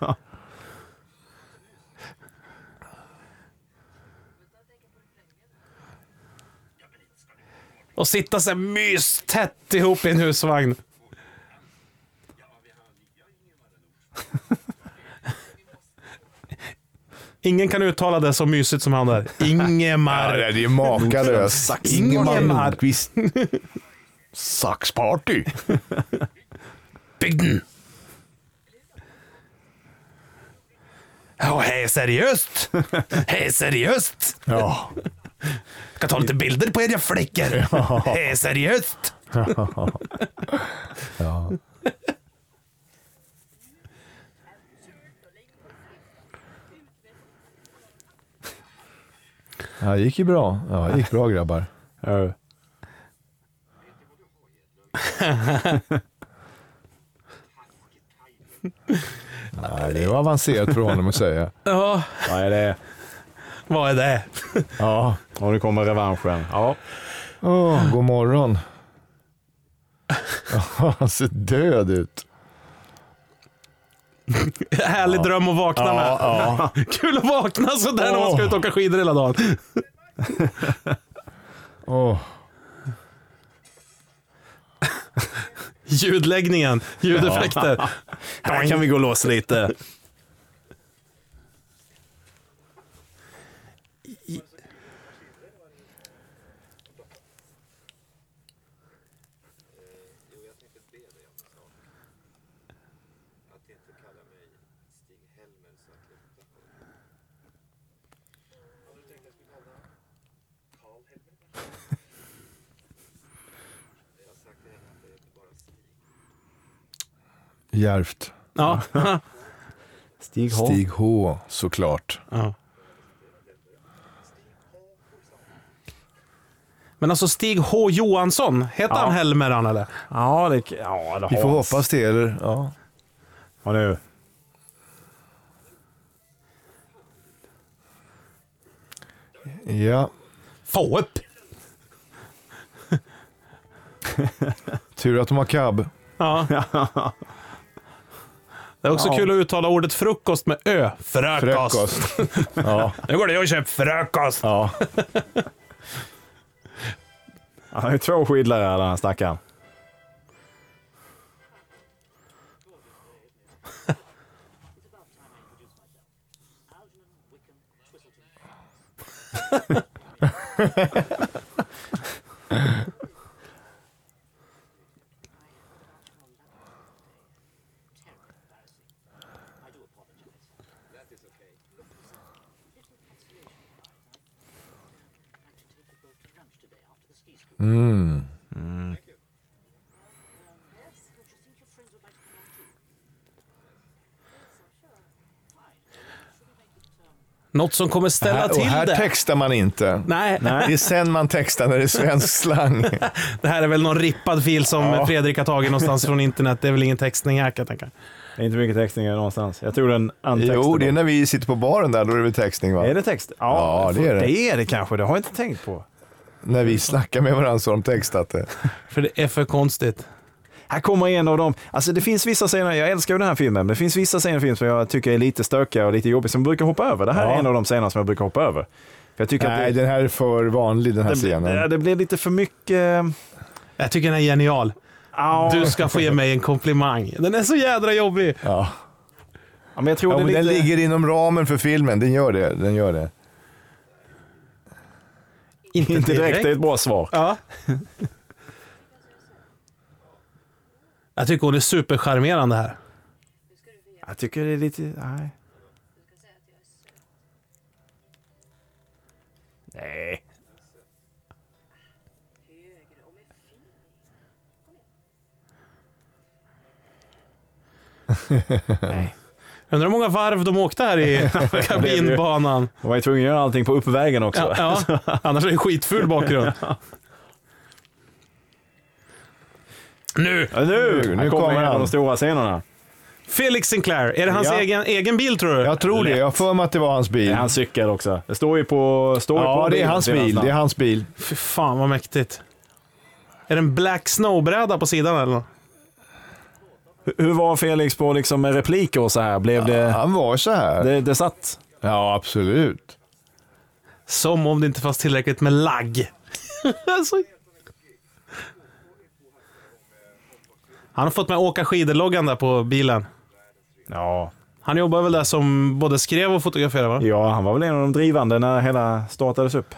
Och sitta så här mystätt ihop i en husvagn. Ingen kan uttala det så mysigt som han där.
Ja,
Ingemar.
det är makalöst.
Ingemar.
Nordqvist. Saxparty.
Bygden. Åh, hej, seriöst? Hej, seriöst?
Ja.
Ska ta lite bilder på er, jag fläcker. Hej, seriöst?
ja. Ja, det gick ju bra. Ja, det gick bra grabbar.
Ja.
Ja, det var avancerat för honom att säga.
Ja,
Vad är det?
vad är det?
Ja.
Och nu kommer revanschen. Ja.
Åh, god morgon. Ja, Han ser död ut.
Härlig dröm att vakna med.
ja.
[LAUGHS] Kul att vakna sådär när man ska ut och åka skidor hela dagen.
Åh.
Ljudläggningen, ljudeffekter.
Här kan vi gå loss lite.
Djärvt.
Ja.
Stig
Stig H, såklart.
Ja. Men alltså Stig H Johansson, heter han Helmer han eller?
Ja, det, ja, det
Vi får
har-
hoppas det, eller? Ja.
Och nu.
ja.
Få upp!
Tur att de har cab.
Ja. Det är också kul att uttala ordet frukost med ö. Frökost.
Fräckost. ja.
Nu går det och köper frökost.
[LAUGHS] ja.
Han har ju två skidlärare den här stackaren.
Något som kommer ställa
här, och
till
här
det.
textar man inte.
Nej,
Det är sen man textar när det är svensk [LAUGHS] slang.
det här är väl någon rippad fil som
Ja.
Fredrik har tagit någonstans från internet. Det är väl ingen textning här kan jag tänka.
Det är inte mycket textningar någonstans. Jag tror den antextade.
jo, det är när vi sitter på baren där, då är det väl textning va?
Är det text?
Ja, det är det.
Det är det kanske, det har jag inte tänkt på.
När vi snackar med varandra så har de textat det.
För det är för konstigt.
Här kommer en av dem. Alltså det finns vissa scener, jag älskar ju den här filmen, men det finns vissa scener i filmen som jag tycker är lite stökiga och lite jobbiga som jag brukar hoppa över. Det här är
Ja.
en av de scener som jag brukar hoppa över. För jag tycker
Nej,
att det,
den här är för vanlig den här
det,
scenen.
det, det blir lite för mycket...
Jag tycker den är genial.
Ja,
Du ska få ge mig en komplimang. Den är så jädra jobbig.
Ja.
Ja, men jag tror
Ja, men
det är
den
lite...
ligger inom ramen för filmen, den gör det. Den gör det.
Inte,
Inte direkt, det är
direkt.
ett bra svar.
Ja. [LAUGHS] Jag tycker hon är supercharmerande här.
Jag tycker det är lite... Nej. Nej.
Undrar hur många varv de åkte här
[LAUGHS]
i kabinbanan.
Jag var ju tvungen att göra allting på uppvägen också.
Ja, ja. Annars är det skitful bakgrund. Nu!
Ja, Nu,
Nu,
nu,
nu
kommer,
kommer
en av
han.
de stora scenerna.
Felix Sinclair, är det hans
Ja.
egen, egen bil tror du?
Jag tror det, jag har för mig att det var hans
Det
bil.
är hans cykel också. Det står ju på... Står ju
Ja,
på
det är
bilen
hans
sedan
bil. Det är hans bil.
Fy fan vad mäktigt. Är det en Black Snow-bräda på sidan eller?
Hur var Felix på liksom med repliker och så här? Blev det,
Han var så här.
det... Det satt?
Ja, absolut.
Som om det inte fanns tillräckligt med lagg. [LAUGHS] alltså. Han har fått med åka skidor-loggan där på bilen.
Ja.
Han jobbar väl där som både skrev och fotograferade va?
ja, han var väl en av de drivande när hela startades upp.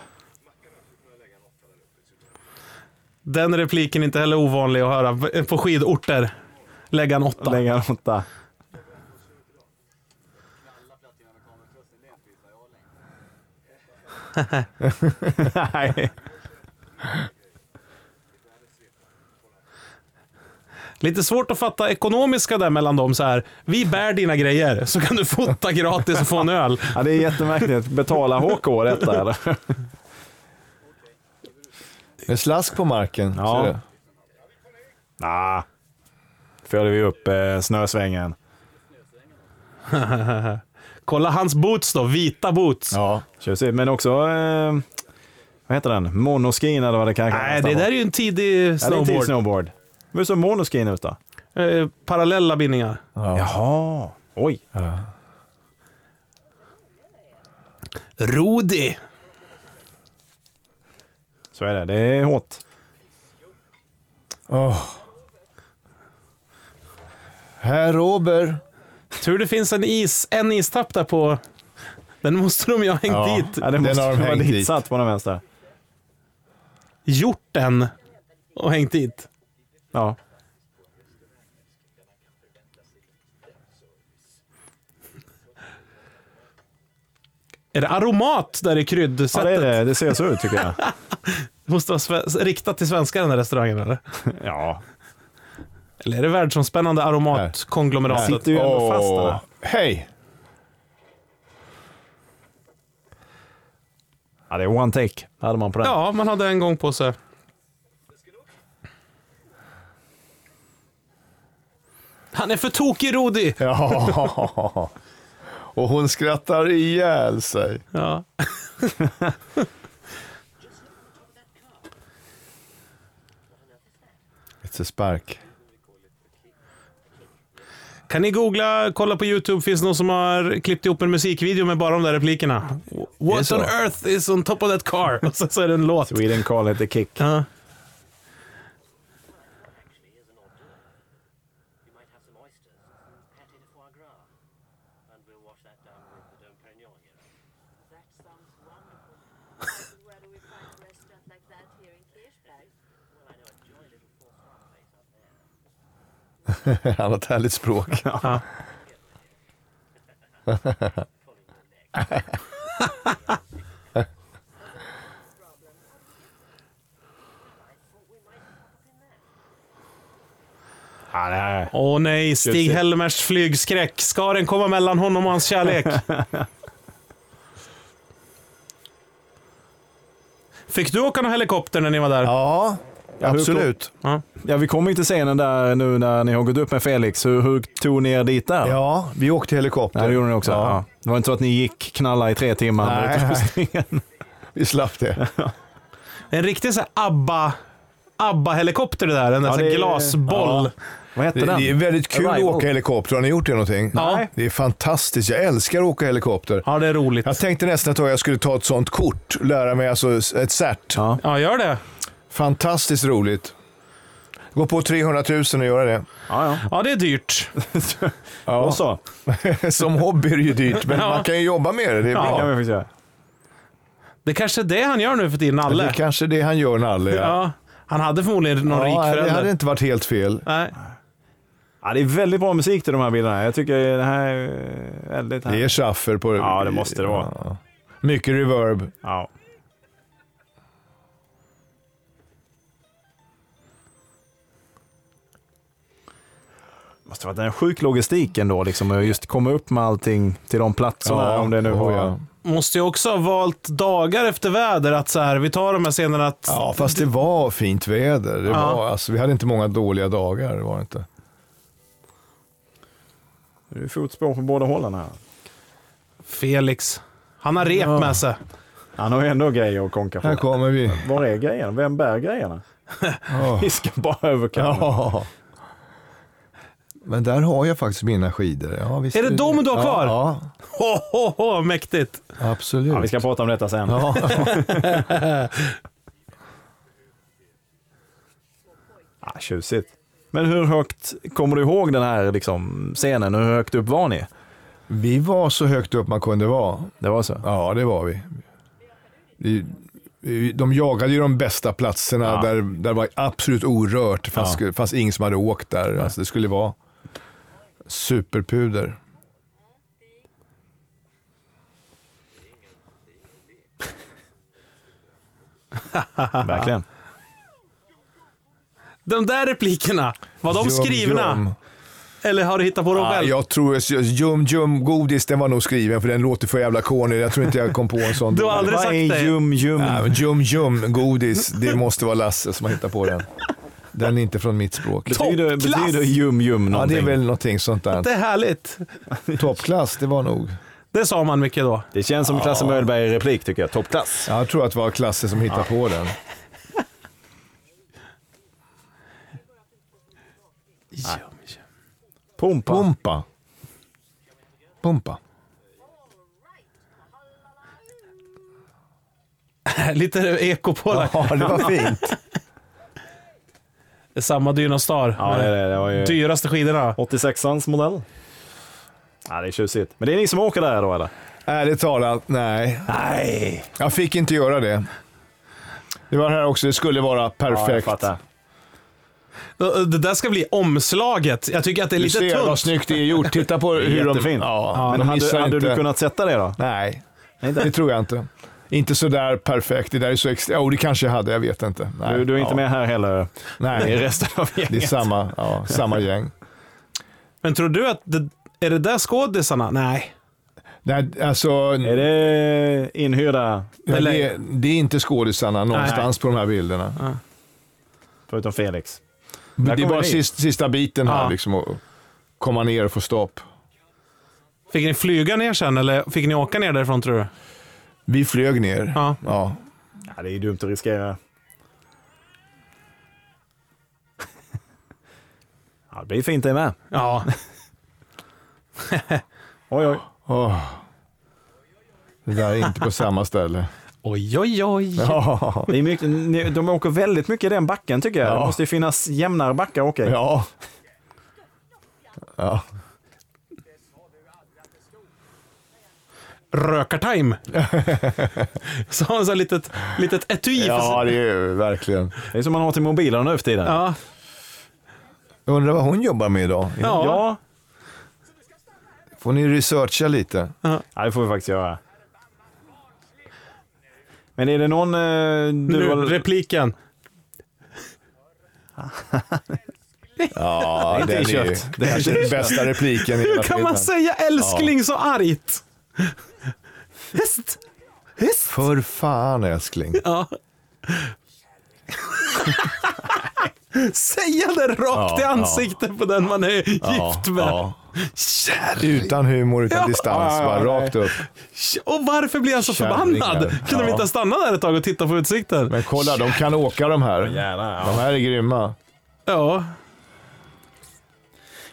Den repliken är inte heller ovanlig att höra på skidorter. Lägga en åtta.
Lägga en åtta. [LAUGHS] Nej.
Lite svårt att fatta ekonomiska där mellan dem så här. Vi bär dina grejer så kan du fota gratis och få en öl.
Ja, det är jättemärkligt. Betala HK detta eller?
Med slask på marken.
Ja.
Ser du?
[LAUGHS] Nah. Följer vi upp eh, snösvängen.
Kolla hans boots då, vita boots.
Ja. Tjusigt. Men också... Eh, vad heter den? Monoskin eller vad det kan
Nej, det där är ju en tidig
snowboard. Ja, det är en
snowboard.
till snowboard. Hur såg monoskin ut då?
eh, parallella bindningar.
Jaha. Oj.
Rudi.
Så är det. Det är hårt.
Åh. Herr Robert.
Tur det finns en, is, en istapp där på... Den måste de ju ha hängt
Ja.
dit.
Ja, [LAUGHS] det
Den
måste
har de
vara
hängt dit.
ditsatt på den vänster.
Gjort den och hängt dit.
Ja.
Är det aromat där i
ja,
kryddsättet?
det är det. Det ser så ut tycker jag.
Måste vara sve- riktat till svenskar den där restaurangen eller?
Ja.
Eller är det världsomspännande
Nej.
Mm.
aromatkonglomeratet?
Sitter ju ändå fast
Åh.
där.
Hej!
ja, det är one take. Hade man på den.
Ja, man hade en gång på sig. Han är för tokig, Rudi!
Ja. [LAUGHS] Och hon skrattar ihjäl sig.
Ja.
Ett spark.
Kan ni googla, kolla på YouTube, finns det någon som har klippt ihop en musikvideo med bara de där replikerna?
det
What
så?
on earth is on top of that car? [LAUGHS] Och så, så är det en låt.
Sweden call it a kick.
Ja.
You might have some oysters, pate de foie gras, and we'll wash that down with the Dom Perignon here.
That sounds wonderful.
Where do we find a restaurant like that here in Kirchberg?
Well, I know a joy little four place up there.
[LAUGHS] Han har ett härligt språk.
Ja, det här.
Åh nej, Stig
det.
[LAUGHS]
Helmers flygskräck. Ska den komma mellan honom och hans kärlek? Fick du åka någon helikopter när ni var där?
Ja, absolut.
Ja.
Ja, vi kommer ju till scenen där nu när ni har gått upp med Felix. Hur, hur tog ni er dit där?
Ja, vi åkte
Ja, det
helikopter.
gjorde ni också.
Ja.
Ja. Det var inte så att ni gick knalla i tre timmar.
Nej,
Utan-
Vi slapp [LAUGHS] det.
En riktig så här ABBA... ABBA-helikopter det där, en
Ja,
sån
det
här
är-
glasboll.
Vad hette
Det,
den?
det är väldigt kul att
Arrival.
åka helikopter. Har ni gjort det någonting?
Ja.
Det är fantastiskt. Jag älskar att åka helikopter.
Ja, det är roligt.
Jag tänkte nästan att jag skulle ta ett sånt kort, lära mig alltså ett cert.
Ja.
Ja, gör det.
Fantastiskt roligt. Gå på 300 000 och göra det.
Ja, ja.
Ja, det är dyrt.
Och så.
[LAUGHS] Som hobby är det ju dyrt, men
Ja.
man kan ju jobba med det. Det är
Det kan vi
bra.
faktiskt göra.
Det kanske är det han gör nu för tiden,
Det
Nalle.
är kanske det han gör, Nalle.
ja. Han hade förmodligen någon rik
ja, det
förälder.
hade inte varit helt fel.
Nej.
Ja, det är väldigt bra musik till de här bilderna. Jag tycker det här är väldigt...
Det är schaffer på...
Ja, det måste det vara.
Ja. Mycket reverb.
Ja. Måste varit en sjuk logistik ändå, liksom, att just komma upp med allting till de platserna. om det nu var...
oh, ja.
Måste ju också ha valt dagar efter väder att så här, vi tar de här scenerna att...
ja, fast det var fint väder. Det
Ja.
var, alltså, vi hade inte många dåliga dagar. Det var det inte.
Det är fotspår på båda hållen här.
Felix. Han har rep med sig.
Han har ju ändå grejer att konka
Här
på.
kommer vi.
Var är grejerna? Vem bär grejerna? [LAUGHS]
Ja.
Vi ska bara över kanten.
Ja. Men där har jag faktiskt mina skidor. Ja, visst
Är det dem du har
ja,
kvar?
Ja,
Ho, ho, ho, mäktigt.
absolut.
Ja, vi ska prata om detta sen.
Ja.
Ah, tjusigt. Men hur högt kommer du ihåg den här liksom, scenen? Hur högt upp var ni?
Vi var så högt upp man kunde vara.
Det var så?
Ja, det var vi. vi vi- de jagade ju de bästa platserna
Ja.
där, där det var absolut orört. Det fanns, det fanns ingen som hade åkt där. Alltså, det skulle vara superpuder.
Verkligen.
De där replikerna, var de
Ljum,
skrivna?
ljum.
Eller har du hittat på dem
Ja,
själv?
jag tror att Jum Jum Godis, den var nog skriven för den låter för jävla corny. Jag tror inte jag kom på en
[LAUGHS]
sån.
Du har aldrig
Vad
sagt
är
det.
Jum Jum?
Nej, men Jum Jum Godis, det måste vara Lasse som har hittat på den. Den är inte från mitt språk.
Betyder,
Toppklass!
betyder Jum Jum
Ja,
någonting?
det är väl någonting sånt där.
Det är härligt.
Toppklass, det var nog.
Det sa man mycket då. [LAUGHS]
Det känns som Klasse Möllberg i replik tycker jag. Toppklass.
Ja, jag tror att det var Klasse som hittade på den.
Pumpa.
Pumpa. Pumpa.
Lite eko på det.
Ja, det
[LAUGHS]
var fint.
Det är Samma Dynostar.
Ja, det, är det, det var ju
Dyraste skidorna.
86ans modell. Ja, det är tjusigt. Men det är ni som åker där då eller?
Ärligt talat, nej.
Nej!
Jag fick inte göra det. Det var här också, det skulle vara
Ja, jag
perfekt.
fattar.
Det där ska bli omslaget. Jag tycker att det är
du
lite
ser vad
tunt.
snyggt det är gjort. Titta på hur de...
Jättefint.
Ja, men
Men
de
hade,
missar
hade
inte.
du kunnat sätta det då?
Nej,
[LAUGHS] Nej,
det
inte.
tror jag inte. Inte sådär perfekt. Det där är så extra... Jo, det kanske jag hade. Jag vet inte. Nej.
Du, du är inte
ja.
med här heller i
Nej,
resten av
det är
gänget.
samma, ja, samma gäng.
Men tror du att det, är det där skådisarna? Nej.
Nej, alltså...
Är det inhyrda,
Ja,
Eller-
det, det är inte skådisarna någonstans på de här bilderna.
förutom Felix?
Men Det är
kommer
bara
ni.
sist, sista biten här
Ja.
liksom att komma ner och få stopp.
Fick ni flyga ner sen eller fick ni åka ner därifrån tror du?
Vi flög ner.
Ja.
Ja.
Ja, det är ju dumt att riskera. [LAUGHS] Ja, det blir fint det med.
Ja.
Oj, oj.
Åh. Det där är inte på samma ställe.
Oj, oj, oj.
Ja.
[LAUGHS] Det är mycket, ni- de åker väldigt mycket i den backen tycker jag.
Ja.
Det måste ju finnas jämnare backar att åka i.
Ja. Ja.
[LAUGHS]
Rökartime. Så har han så här litet, litet etui. för sig.
ja, det är ju verkligen.
Det är som man har till mobilerna nu för tiden.
Ja.
Jag undrar vad hon jobbar med idag.
Ja.
Ja.
Får ni researcha lite?
Ja, det får vi faktiskt göra. Men är det någon eh,
Nu,
du har...
repliken.
Ja,
Inte
den är ju
köpt.
kanske den bästa repliken i
Hur
hela
kan man
filmen.
säga älskling så argt? Häst! Häst!
För fan älskling.
Ja. [LAUGHS] Säga det rakt
Ja,
i
ja.
ansiktet på den man är
Ja,
gift med.
ja.
Kärring!
Utan humor, utan
Ja.
distans,
Ja, ja,
bara
ja, nej.
rakt upp.
Och varför blir han så
Kärringar.
förbannad? Kunde vi
Ja.
inte stanna där ett tag och titta på utsikten?
Men kolla, de kan åka de här.
Jävlar, ja.
De här är grymma.
Ja.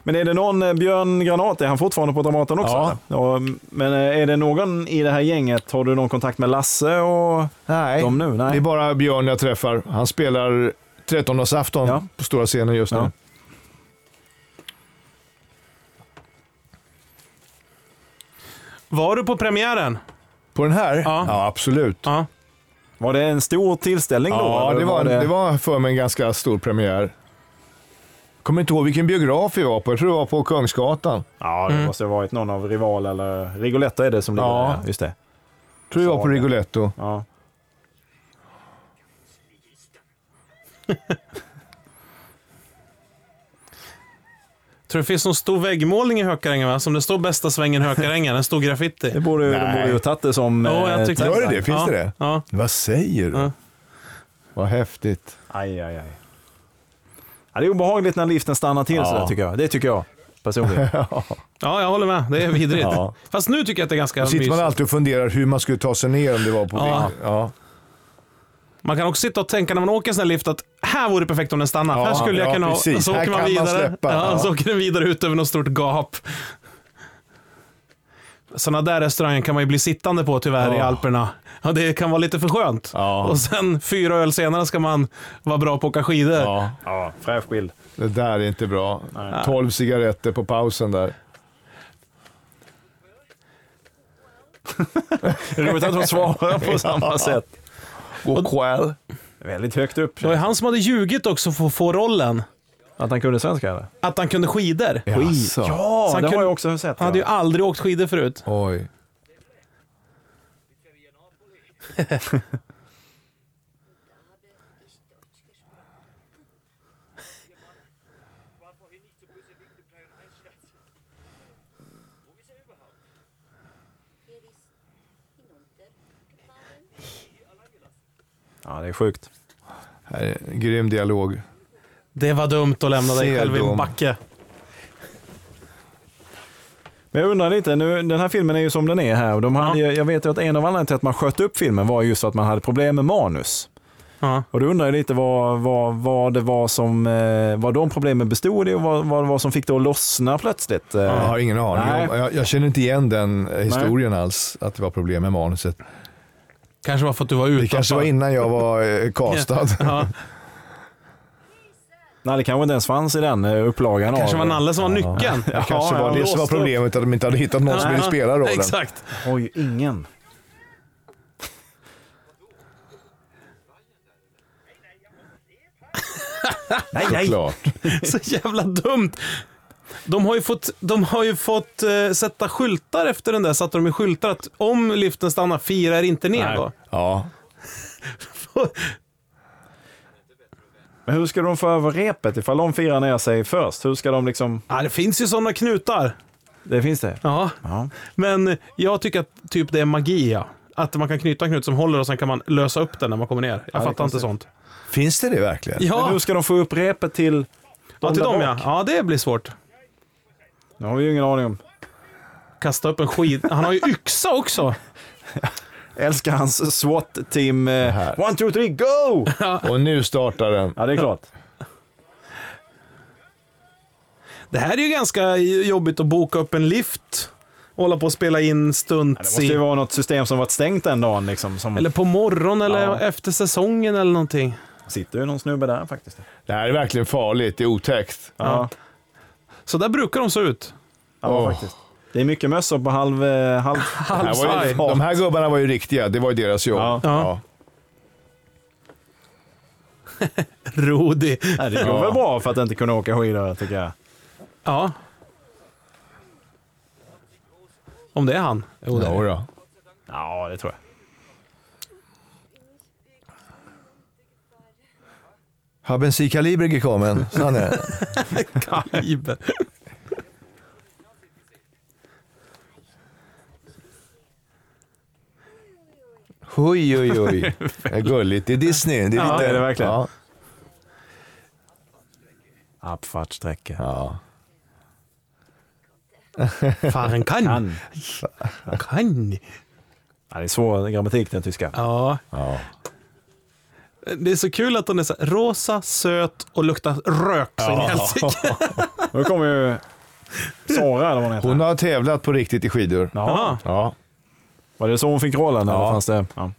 Men är det någon eh, Björn Granat, är han fortfarande på Dramaten också?
Ja.
eller? ja men eh, är det någon i det här gänget, har du någon kontakt med Lasse och
Nej,
de nu? Nej.
det är bara Björn jag träffar. Han spelar 13-dagsafton
Ja.
på stora scenen just nu.
Ja.
Var du på premiären?
På den här?
Ja.
absolut.
Ja.
Var det en stor tillställning då?
Ja,
eller
det var, det var för mig en ganska stor premiär. Kommer inte ihåg vilken biograf vi var på. Jag tror det var på Kungsgatan.
Ja, det måste ha varit någon av Rival eller Rigoletto är det som ligger
Mm. Ja.
där. Just det.
tror jag var på
Saga.
Rigoletto.
Ja.
Tror det finns någon stor väggmålning i Hökarängen va? Som det står bästa svängen Hökarängen, en stor
[LAUGHS]
Det
graffiti.
borde, de
Nej.
borde ju ha tagit det som...
Jo, jag
eh,
tyckte-
Gör det det? Finns
ja.
det det?
Ja.
Vad säger du?
Ja.
Vad häftigt.
Aj, aj, aj. Ja, det är obehagligt när liften stannar till
Ja.
sådär tycker jag. Det tycker jag personligen.
ja, jag håller med. Det är vidrigt.
Ja.
Fast nu tycker jag att det är ganska
Då sitter
mysigt.
man
Man,
alltid och funderar hur man skulle ta sig ner om det var på
Ja.
Ving- ja.
kan också sitta och tänka när man åker en sån här lift att här vore det perfekt om den stannar.
Ja,
här skulle jag
ja,
kunna ha...
precis.
Så
Här
åker man
kan man
vidare.
släppa.
ja,
Ja.
Så åker den vidare ut över något stort gap. Sådana där restauranger kan man ju bli sittande på tyvärr i
Ja.
Alperna. Ja, det kan vara lite för skönt.
Ja.
Och sen fyra öl senare ska man vara bra på att åka skidor.
Ja.
[LAUGHS] Ja, fräsch bild.
Det där är inte bra. 12 cigaretter på pausen där.
Det är roligt att de svarar [LAUGHS] på samma sätt.
Och kväll.
Väldigt högt upp.
Det var ju han som hade ljugit också för att få rollen.
Att han kunde svenska eller?
Att han kunde skidor.
Jaså.
Så
Ja,
han
det
kunde-
har jag också sett.
Han hade ju
ja.
aldrig åkt skidor förut.
Oj.
Varför hin nicht so böse kleinen Einscherz? Wo ist er überhaupt?
Hier ist hinuntergefallen.
ja, det är sjukt.
Här är en grym dialog.
Det var dumt att lämna dig
Ser
själv i en
dum.
backe.
Men jag undrar lite, nu, den här filmen är ju som den är här. Och de hade, ju- Jag vet ju att en av anledningarna till att man sköt upp filmen var just att man hade problem med manus.
Ja.
Och då undrar jag lite vad, vad, vad det var som, eh, vad de problemen bestod i och vad, vad det var som fick det att lossna plötsligt. eh.
Jag har ingen
Nej.
aning. om- Jag, jag känner inte igen den eh, historien alls, att det var problem med manuset.
Kanske var för att du var ute.
Det kanske var innan jag var eh, castad.
Ja,
Nej, det kanske inte ens fanns i den eh, upplagan. av-
kanske var Nalle som var nyckeln.
Det kanske
Ja,
var det som
jag
var
låste upp.
problemet, att de inte hade hittat någon som ville
Ja,
spela
[LAUGHS]
rollen.
Exakt.
har ju [LAUGHS] ingen. nej, nej.
Klart.
Så jävla dumt. De har ju fått, de har ju fått eh, sätta skyltar efter den där. Satte de i skyltar att om liften stannar, fira er inte ner
Nej.
då. [LAUGHS]
Ja.
Men hur ska de få över repet ifall de firar ner sig först? Hur ska de liksom...
Ja, det finns ju sådana knutar.
Det finns det.
Ja.
Ja.
Men jag tycker att typ det är magi. Ja. Att man kan knyta en knut som håller och sen kan man lösa upp den när man kommer ner. Jag fattar inte
konstigt.
sånt.
Finns det det verkligen?
Men hur
Ja,
ska de få upp repet till...
ja till
där
dem ja.
bak?
Ja, det blir svårt.
Det har vi ju ingen aning om.
Kasta upp en skid. Han har ju yxa också.
Älskar hans SWAT-team. Eh,
här.
one, two, three, go!
Och nu startar den.
Ja, det är [LAUGHS] klart.
Det här är ju ganska jobbigt att boka upp en lift. och Hålla på och spela in
Det
stunts
måste ju
i-
vara något system som varit stängt den dagen. Liksom, som
Eller på morgonen eller
Ja.
efter säsongen eller någonting.
sitter ju någon snubbe där faktiskt.
Det här är verkligen farligt, det är otäckt.
Ja,
Så där brukar de se ut.
ja
Åh.
faktiskt. Det är mycket mössor på halv... eh, halv...
Det här var ju,
Halvsvaj.
de här gubbarna var ju riktiga, det var ju deras jobb.
Ja.
Ja. Rodi.
Nej, det går väl bra för att inte kunna åka skidor tycker jag.
Ja. Om det är han. Jo, det är
Jo
det.
då.
Ja, det tror jag.
Haben Sie Kaliber gekommen?
[LAUGHS]
Sanne.
[LAUGHS]
Kaliber.
Oj, oj, oj. Det är gulligt. Det är Disney. Det är
Ja,
lite,
det är det verkligen.
Ja.
Abfahrtstrecke.
ja.
Fan kan.
Kan.
Kan.
Mm. Ja, det är svår grammatik den tyska.
Ja.
ja.
Det är så kul att hon är så här, rosa, söt och luktar rök så in i helsike.
Nu kommer ju Sara eller vad hon heter.
Hon har tävlat på riktigt i skidor.
Ja.
Ja.
Ja.
Var det så hon fick rollen?
Ja.
Eller fanns det? Ja.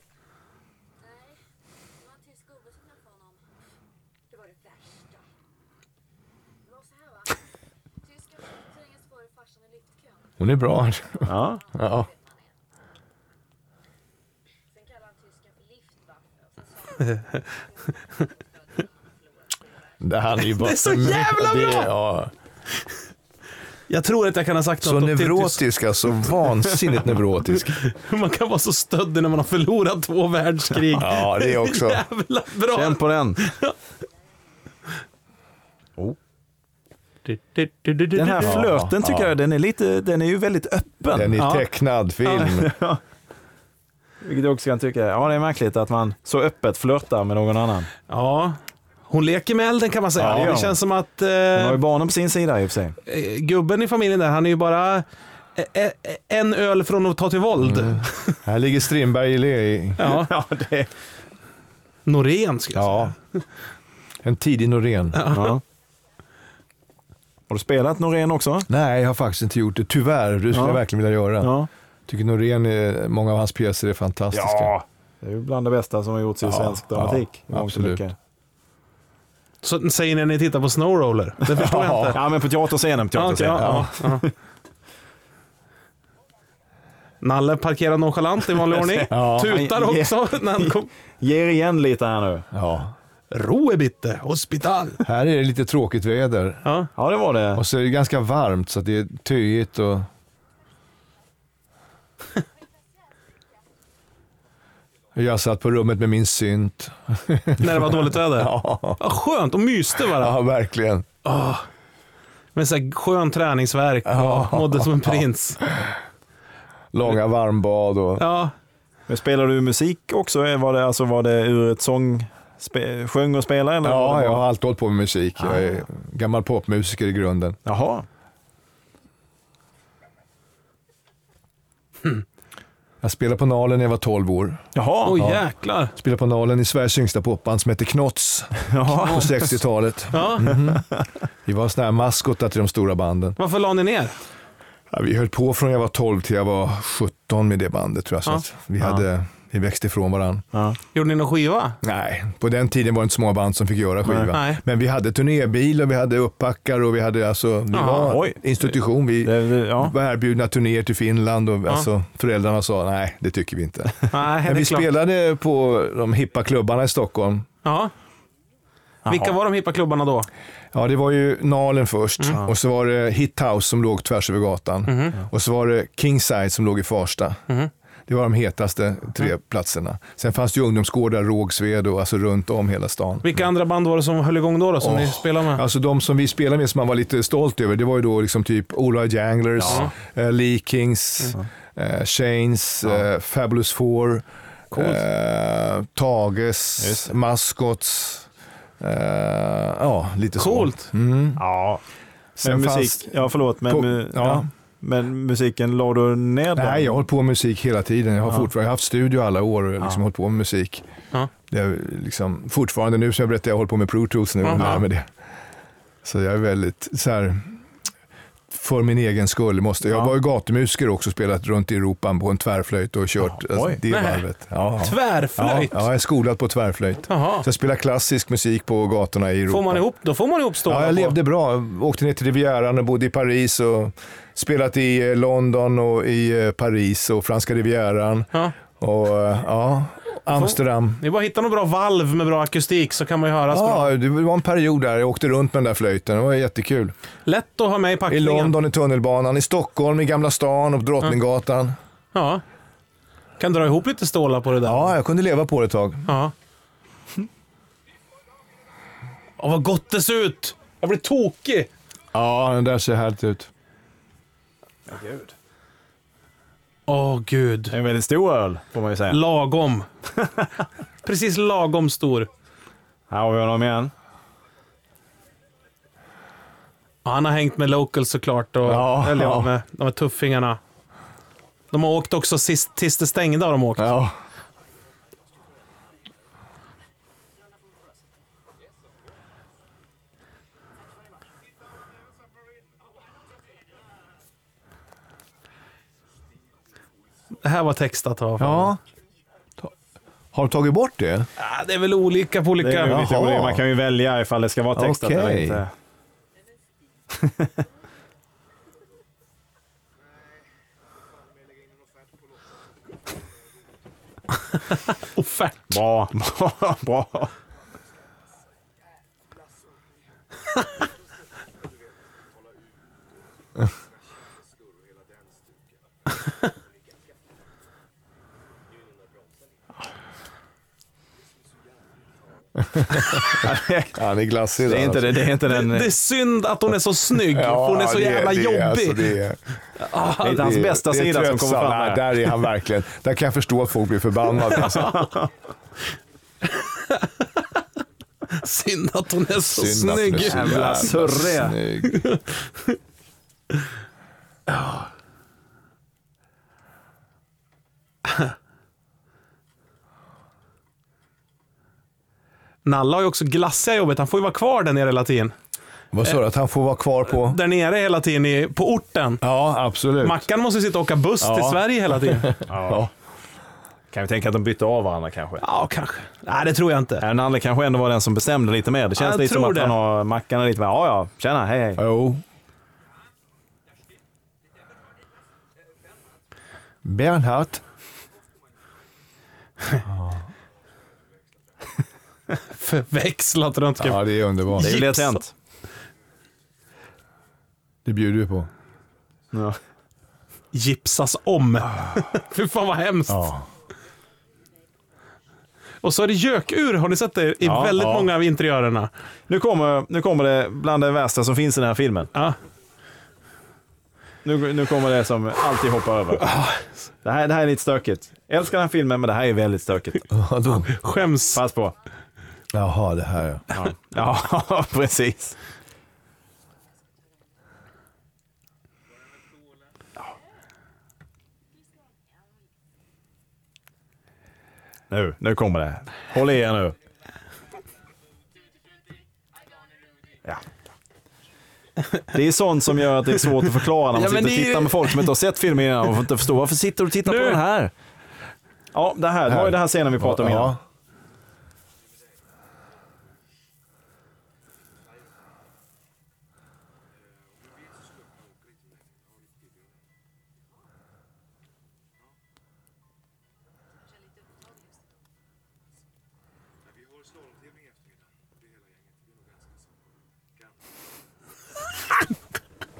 Nej, det var en tysk gubbe som träffade honom. Det var det värsta. Det var så här va. Tysken försökte trängas före farsan i liftkön.
Hon är bra. [LAUGHS]
Ja.
Ja.
Sen kallade han tysken för liftwaffe. och så sa han,
Det, här är ju bara
Det är så jävla
Det är-
bra!
ja.
Jag tror att jag kan ha sagt
Så
något om Titus.
neurotisk alltså. Vansinnigt neurotisk.
Hur man kan vara så stöddig när man har förlorat två världskrig. [LAUGHS]
Ja, det är också.
Jävla bra.
Känn på den. Den här
Ja,
flöten tycker
ja.
jag, den är, lite, den är ju väldigt öppen.
Den är
Ja.
tecknad film.
Vilket jag också kan tycka, ja det är märkligt att man så öppet flörtar med någon annan.
Ja, hon leker med elden kan man säga.
Ja, det gör
det
hon.
känns som att eh,
Hon har ju barnen på sin sida i och för sig.
eh, gubben i familjen där, han är ju bara eh, eh, en öl från att ta till våld.
Mm.
Här ligger Strindberg i le. i-
Ja.
Ja, det
Norén skulle jag säga.
Ja. En tidig Norén.
ja. Har du spelat Norén också?
Nej, jag har faktiskt inte gjort det. Tyvärr. Det skulle
Ja.
jag verkligen vilja göra.
Ja.
Tycker Norén, är, många av hans pjäser är fantastiska.
ja. Det är ju bland det bästa som har gjorts i
Ja,
svensk
ja,
dramatik. Långt
absolut.
mycket.
Så säger ni när ni tittar på Snowroller. Det förstår jag inte.
Ja, men på teaterscenen. På
Ja, okej, ja, ja,
teaterscenen.
ja. Nalle parkerar nonchalant i vanlig ordning.
[LAUGHS] Ja.
Tutar
Ja.
också [LAUGHS] när han kom.
Ger igen lite här nu.
Ja.
Roe bitte, hospital.
Här är det lite tråkigt väder.
Ja.
Ja, det var det.
Och så är det ganska varmt så att det är töjigt och... Jag satt på rummet med min synt.
När det var dåligt väder.
Ja,
Ja, skönt, och myste bara.
ja verkligen.
Med så här skön träningsvärk och mådde som en prins.
Långa varmbad och...
Ja,
Men spelar du musik också? Var det, alltså, var det ur ett sång... Spe, sjöng och spelade? Eller var
Ja,
det
jag
bara-
har alltid hållit på med musik. Jag är gammal popmusiker i grunden.
Jaha.
Jag spelade på Nalen när jag var 12 år.
Jaha.
oj
ja.
jäklar.
Spelade på Nalen i Sveriges yngsta popband som hette Knots
[LAUGHS] Jaha.
på 60-talet.
Ja.
Vi var sådana här maskotar till de stora banden.
Varför la ni ner?
Ja, vi höll på från jag var 12 till jag var 17 med det bandet tror jag. Så att vi, hade, vi växte ifrån varandra.
Ja.
Gjorde ni någon skiva?
Nej, på den tiden var det inte så många band som fick göra skiva.
Nej.
Men vi hade turnébil och vi hade uppbackar och vi hade alltså, vi
Aha,
var
oj.
institution. Vi
Det, det, ja.
var erbjudna turnéer till Finland och alltså, föräldrarna sa nej, det tycker vi inte.
Nej,
Men
det
vi
är klart.
spelade på de hippa klubbarna i Stockholm.
Ja. Vilka var de hippa klubbarna då?
Ja, det var ju Nalen först
Mm.
och så var det Hit House som låg tvärs över gatan.
Mhm.
Och så var det Kingside som låg i Farsta. Det var de hetaste tre
Mm.
platserna. Sen fanns det ju ungdomsgårdar, Rågsved och alltså runt om hela stan.
Vilka andra band var det som höll igång då, då som ni
Åh,
spelade med?
Alltså de som vi spelade med som man var lite stolt över, det var ju då liksom typ Ola Janglers, eh, Lee Kings, eh, Shanes, eh, Fabulous Four, eh,
Just
Tages, Maskots. Eh, ja, lite så.
Coolt.
ja. Men
Sen
musik,
fanns-
ja förlåt, men,
På-
mu- ja.
ja.
men musiken la du ner den?
Nej, jag har hållit på med musik hela tiden. Jag har fortfarande jag har haft studio alla år och liksom hållit på med musik.
Ja.
Det är liksom, fortfarande nu som jag berättade, jag håller på med Pro Tools nu och
Ja.
lär mig det. Så jag är väldigt så här, för min egen skull. Måste, Jag var ju gatumusiker också, spelat runt i Europa på en tvärflöjt och kört alltså, det
Nej.
varvet. Ja. Ja,
Tvärflöjt.
ja, jag är skolad på tvärflöjt.
Jaha.
Så jag spelar klassisk musik på gatorna i Europa.
Får man ihop, då får man ihop stålar
Ja,
på.
jag levde bra. Åkte ner till Rivieran och bodde i Paris och spelat i eh, London och i eh, Paris och franska Rivieran
Ja.
och eh, ja, Amsterdam.
Det är bara att hitta någon bra valv med bra akustik så kan man ju höras bra.
Ja, det var en period där jag åkte runt med den där flöjten. Det var jättekul.
Lätt att ha med i
I
packningen.
London i tunnelbanan, i Stockholm i Gamla stan och på Drottninggatan.
Ja. Kan dra ihop lite stålar på det där.
Ja, jag kunde leva på det ett tag.
Ja. Åh, vad gott det ser ut! Jag blir tokig!
Ja, den där ser härligt ut.
Gud.
Åh gud.
Det är en väldigt stor öl, får man ju
[LAUGHS]
säga.
Lagom. Precis lagom stor.
Här har vi honom igen.
Ja, han har hängt med Locals såklart. Och,
Ja,
eller
ja.
ja. Med, de här tuffingarna. De har åkt också sist, tills det stängde. Har de åkt.
Ja.
Det här var textat. va?
Ja. Ta- Har de tagit bort det?
Ja, det är väl olika på olika...
Det är ju lite
Jaha.
olika. Man kan ju välja ifall det ska vara textat eller
Okej.
inte.
offert.
Bra, [LAUGHS] bra, bra.
Han är alltså. glassig
Det är inte, det, det är inte den...
Det
Det
är synd att hon är så snygg. för hon är så
det
jävla
det
jobbig.
alltså, det är-
är inte hans
det är-
bästa
det är
sida som kommer
tröttsamt.
fram
Nej,
här.
Där är han verkligen. Där kan jag förstå att folk blir
[LAUGHS]
förbannade. Alltså.
[LAUGHS] Synd att hon är så
Synd att hon är
snygg.
så
Jävla
jävla
surre.
snygg.
Nalla har ju också glassiga jobbet. Han får ju vara kvar där nere hela tiden.
Vad sa du? Att han får vara kvar på...
Där nere hela tiden i, på orten.
Ja, absolut.
Mackan måste ju sitta och åka buss till Sverige hela
[LAUGHS]
tiden.
Ja.
Kan vi tänka att de bytte av varandra kanske?
Ja, kanske. Nej, det tror jag inte.
Ja, Nalle kanske ändå var den som bestämde lite mer. Det känns
jag
lite som
tror
att
det.
han har Mackan är lite mer, ja ja, tjena, hej hej.
Jo. Bernhardt.
Förväxlat röntgen.
Ja, det är underbart.
Det är ju
Gips.
lätt hänt.
Det bjuder vi på.
Ja.
Gipsas om. [LAUGHS] Fy fan vad hemskt.
Ja.
Och så är det gökur. Har ni sett det? I
Ja,
väldigt
ja.
många av interiörerna.
Nu, kommer, nu kommer det bland det värsta som finns i den här filmen.
Ja.
Nu, nu kommer det som alltid hoppar över. Det här, det här är lite stökigt. Jag älskar den här filmen, men det här är väldigt stökigt.
Vadå?
Skäms.
Pass på.
Jaha, det här ja.
Ja, ja [LAUGHS] precis. Ja. Nu, nu kommer det. Håll i er nu. Ja. Det är sånt som gör att det är svårt att förklara när man
Ja, men
sitter och
det är-
tittar med folk som inte har sett filmen innan och inte förstår varför sitter du och tittar
Nu.
på den här? Ja, det här. Det var ju den här scenen vi pratade om innan.
Ja.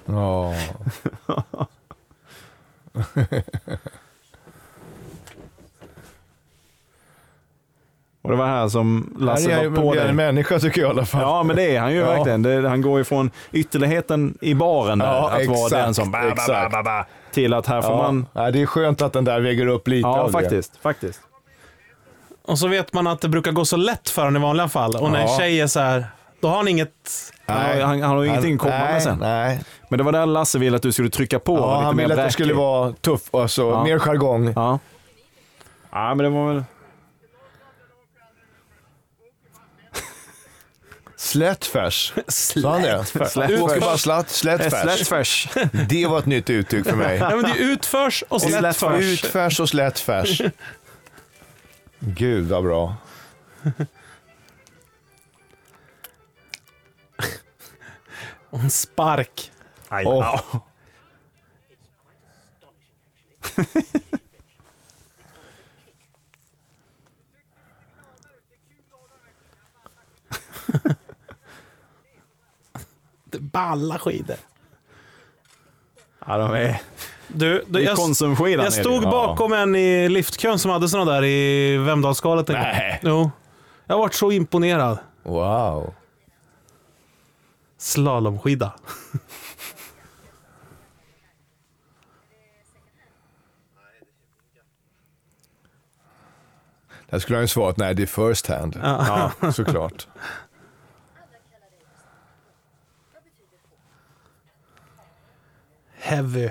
Ja.
Och det var här som
Han
Lasse
är
var alltså, på
ju
dig.
en människa tycker jag i alla fall.
Ja, men det är han
[LAUGHS]
ju
Ja.
verkligen. Det, han går ju från ytterligheten i baren där,
Ja,
att
exakt,
vara den som ba, ba, ba,
exakt.
ba, ba, till att här får man...
Nej, det är skönt att den där väger upp lite
Ja,
av
faktiskt. faktiskt.
Och så vet man att det brukar gå så lätt för honom i vanliga fall. Och när en
Ja.
tjej är så här, då har han inget...
det.
Han har ju- han- han har ju ingenting att komma med
nej,
sen.
Nej,
Men det var där Lasse ville att du skulle trycka på.
ja,
lite
han
mer
ville att det
bräckig.
skulle vara tuff, alltså mer jargong.
Ja. ja, men det var väl...
Slätt färs. Sa han
[LAUGHS]
det?
Slätt
Du åker
färs.
bara
[LAUGHS]
slatt, slätt färs.
Slätfärs.
Det var ett nytt uttryck för
[LAUGHS]
mig.
Nej, men det är utförs och
Och
slätt
slättförs.
förs.
Utfärs och slätt färs. Gud vad bra.
Och en spark.
Aj,
Åh.
ja.
Balla skidor.
[LAUGHS] ja, de är...
Du, du
Det är
jag,
konsumskidan. är
jag
det ju.
stod
Ja.
bakom en i liftkön som hade såna där i Vemdalsskalet en gång.
Nej.
Jo. Jag har varit så imponerad.
Wow.
Slalomskida.
Där skulle han ju svarat, nej det är first hand.
Ja.
Ja, såklart.
Alla kallar dig för Sandra. Vad
Heavy.
betyder hon?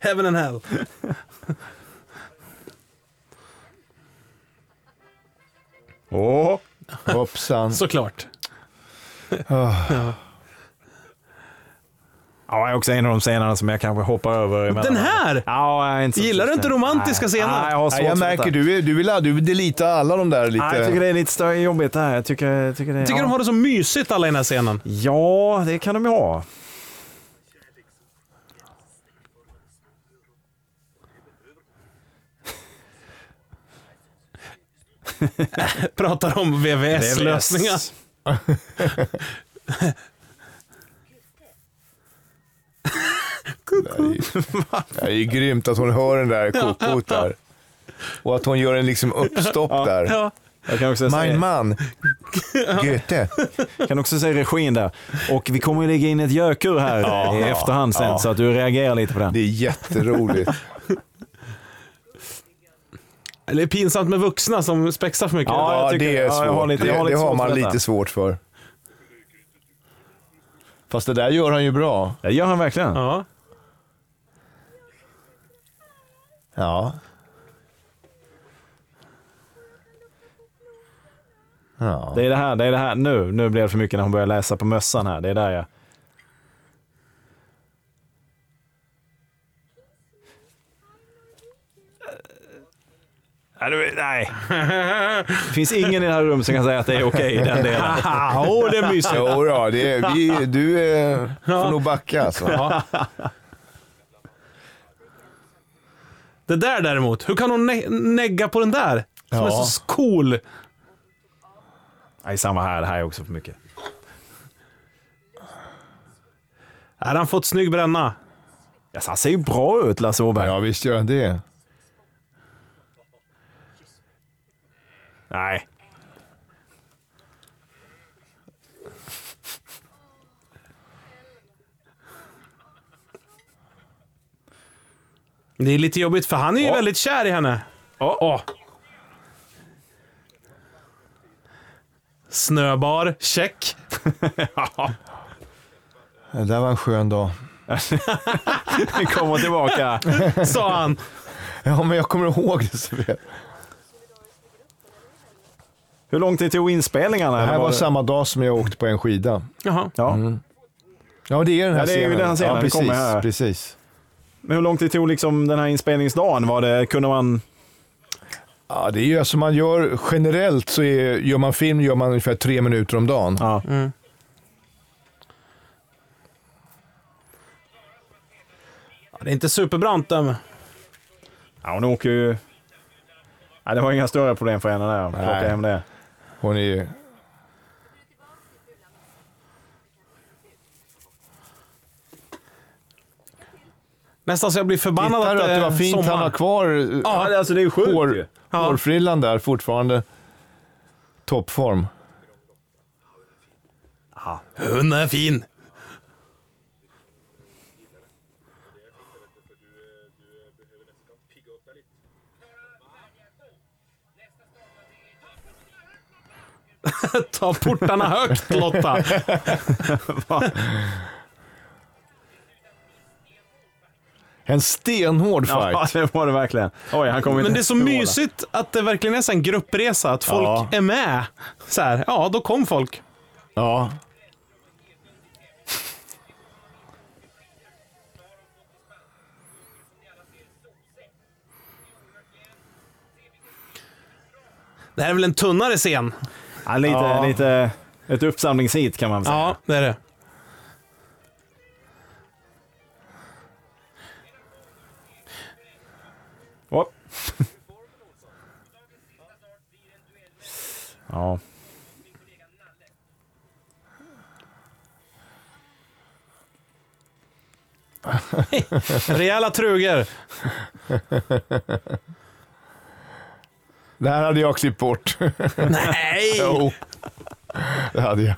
Heaven and hell.
Åh!
Hoppsan.
Såklart.
Ja, det är också en av de scenerna som jag kanske hoppar över. emellan.
Den här?
Ja, jag är inte så
Gillar du
förtjust
inte
i den.
romantiska
Nej.
scener?
Nej, jag har svårt
Nej, jag
för detta.
märker, du, är- du vill du vill deleta alla de där lite...
Nej, jag tycker det är lite större jobbigt det här. Jag tycker, jag tycker det
Tycker
ja.
de har det så mysigt alla i den här scenen.
Ja, det kan de ju ha.
Pratar om VVS-lösningar.
Det är ju grymt att hon hör den där kokot där. Och att hon gör en liksom uppstopp där.
Ja.
Jag kan också,
Mein
säga,
man, Goethe.
kan också säga regin där. Och vi kommer ju lägga in ett gökur här i efterhand sen så att du reagerar lite på den.
Det är jätteroligt.
Det är pinsamt med vuxna som spexar för mycket.
Ja,
[LAUGHS]
jag
Ja,
tycker-
det är
ja, jag har
svårt.
lite- jag har
Det- Det
lite
har
svårt
man
för detta.
lite svårt för. Fast det där gör han ju bra.
Det gör han verkligen.
Ja.
Ja. Ja.
Det är det här, det är det här. Nu, nu blir det för mycket när hon börjar läsa på mössan här. Det är där jag... Nej, du- Nej. Det finns ingen i det här rummet som kan säga att det är okej i den delen.
Haha, åh, det är mysigt.
Jo då, det är, vi, du eh, får nog backa alltså.
Det där däremot, hur kan hon ne- negga på den där? Som
Ja.
är så cool.
Nej, samma här. Det här är också för mycket.
Här har han fått snygg bränna.
Alltså, han ser ju bra ut, Lasse Åberg.
Ja, visst gör han det.
Nej.
Det är lite jobbigt för han är ju väldigt kär i henne.
Åh, åh.
Snöbar, check.
Det där var en skön dag.
Den kommer tillbaka.
Sa
[LAUGHS]
han.
Ja, men jag kommer ihåg det så väl.
Hur lång tid tog inspelningarna?
Det här
Eller
var
det-
samma dag som jag åkte på en skida.
Jaha.
Ja.
Ja, det är den här
Ja, det är ju
scenen.
den här scenen.
Ja,
Det kommer
precis,
här.
precis.
Men hur lång tid tog liksom den här inspelningsdagen? Var det, kunde man...
Ja, det är ju alltså man gör generellt så är, gör man film gör man ungefär tre minuter om dagen.
Ja.
Ja, Det är inte superbrant där. men-
Ja, hon åker ju... Ja, det var inga större problem för henne där. att Plocka
Nej.
hem det.
Hon är ju...
Nästan så jag blir förbannad
Hittar
att det
du att
är
det var fint
sommar.
han har kvar eh,
Ja, det- alltså det är ju sjukt ju.
hår,
Ja.
hårfrillan där fortfarande. Toppform.
Hon är fin. [LAUGHS] Ta portarna högt Lotta.
En stenhård fight.
Ja, [LAUGHS] det var det verkligen. Oj, han kommer inte
Men det är så
ens måla.
mysigt att det verkligen är så en gruppresa, att folk
Ja.
är med. Så här, ja, då kom folk.
Ja.
Det här är väl en tunnare scen?
Ja, lite,
Ja.
lite... Ett uppsamlingshit kan man väl säga.
Ja, det är det.
Åh. [LAUGHS] ja.
Rejäla truger.
Det här hade jag klippt
[LAUGHS]
bort.
Nej!
jo. Det hade jag.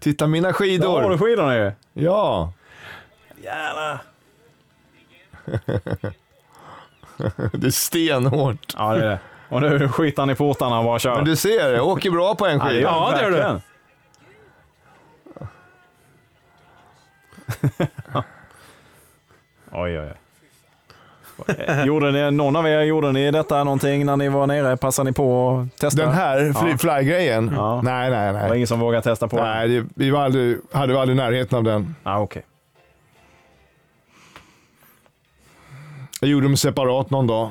Titta mina
Där har
skidor.
du skidorna ju.
Ja.
Jävlar.
Det är stenhårt.
Ja, det är det. Och nu skiter han i portarna och bara kör.
Men du ser, jag åker bra på en
Ja, det gör
skiva.
Ja,
han
det gör du.
verkligen. [LAUGHS] oj, oj, oj. Gjorde ni, någon av er, gjorde ni detta någonting när ni var nere? Passade ni på att testa?
Den här
Ja.
fly- fly-grejen?
Ja.
Nej, nej,
Det var
nej.
ingen som vågade testa på den?
Nej, det, vi var aldrig, hade vi aldrig närheten av den.
Ah, okej.
Jag gjorde dem separat någon dag.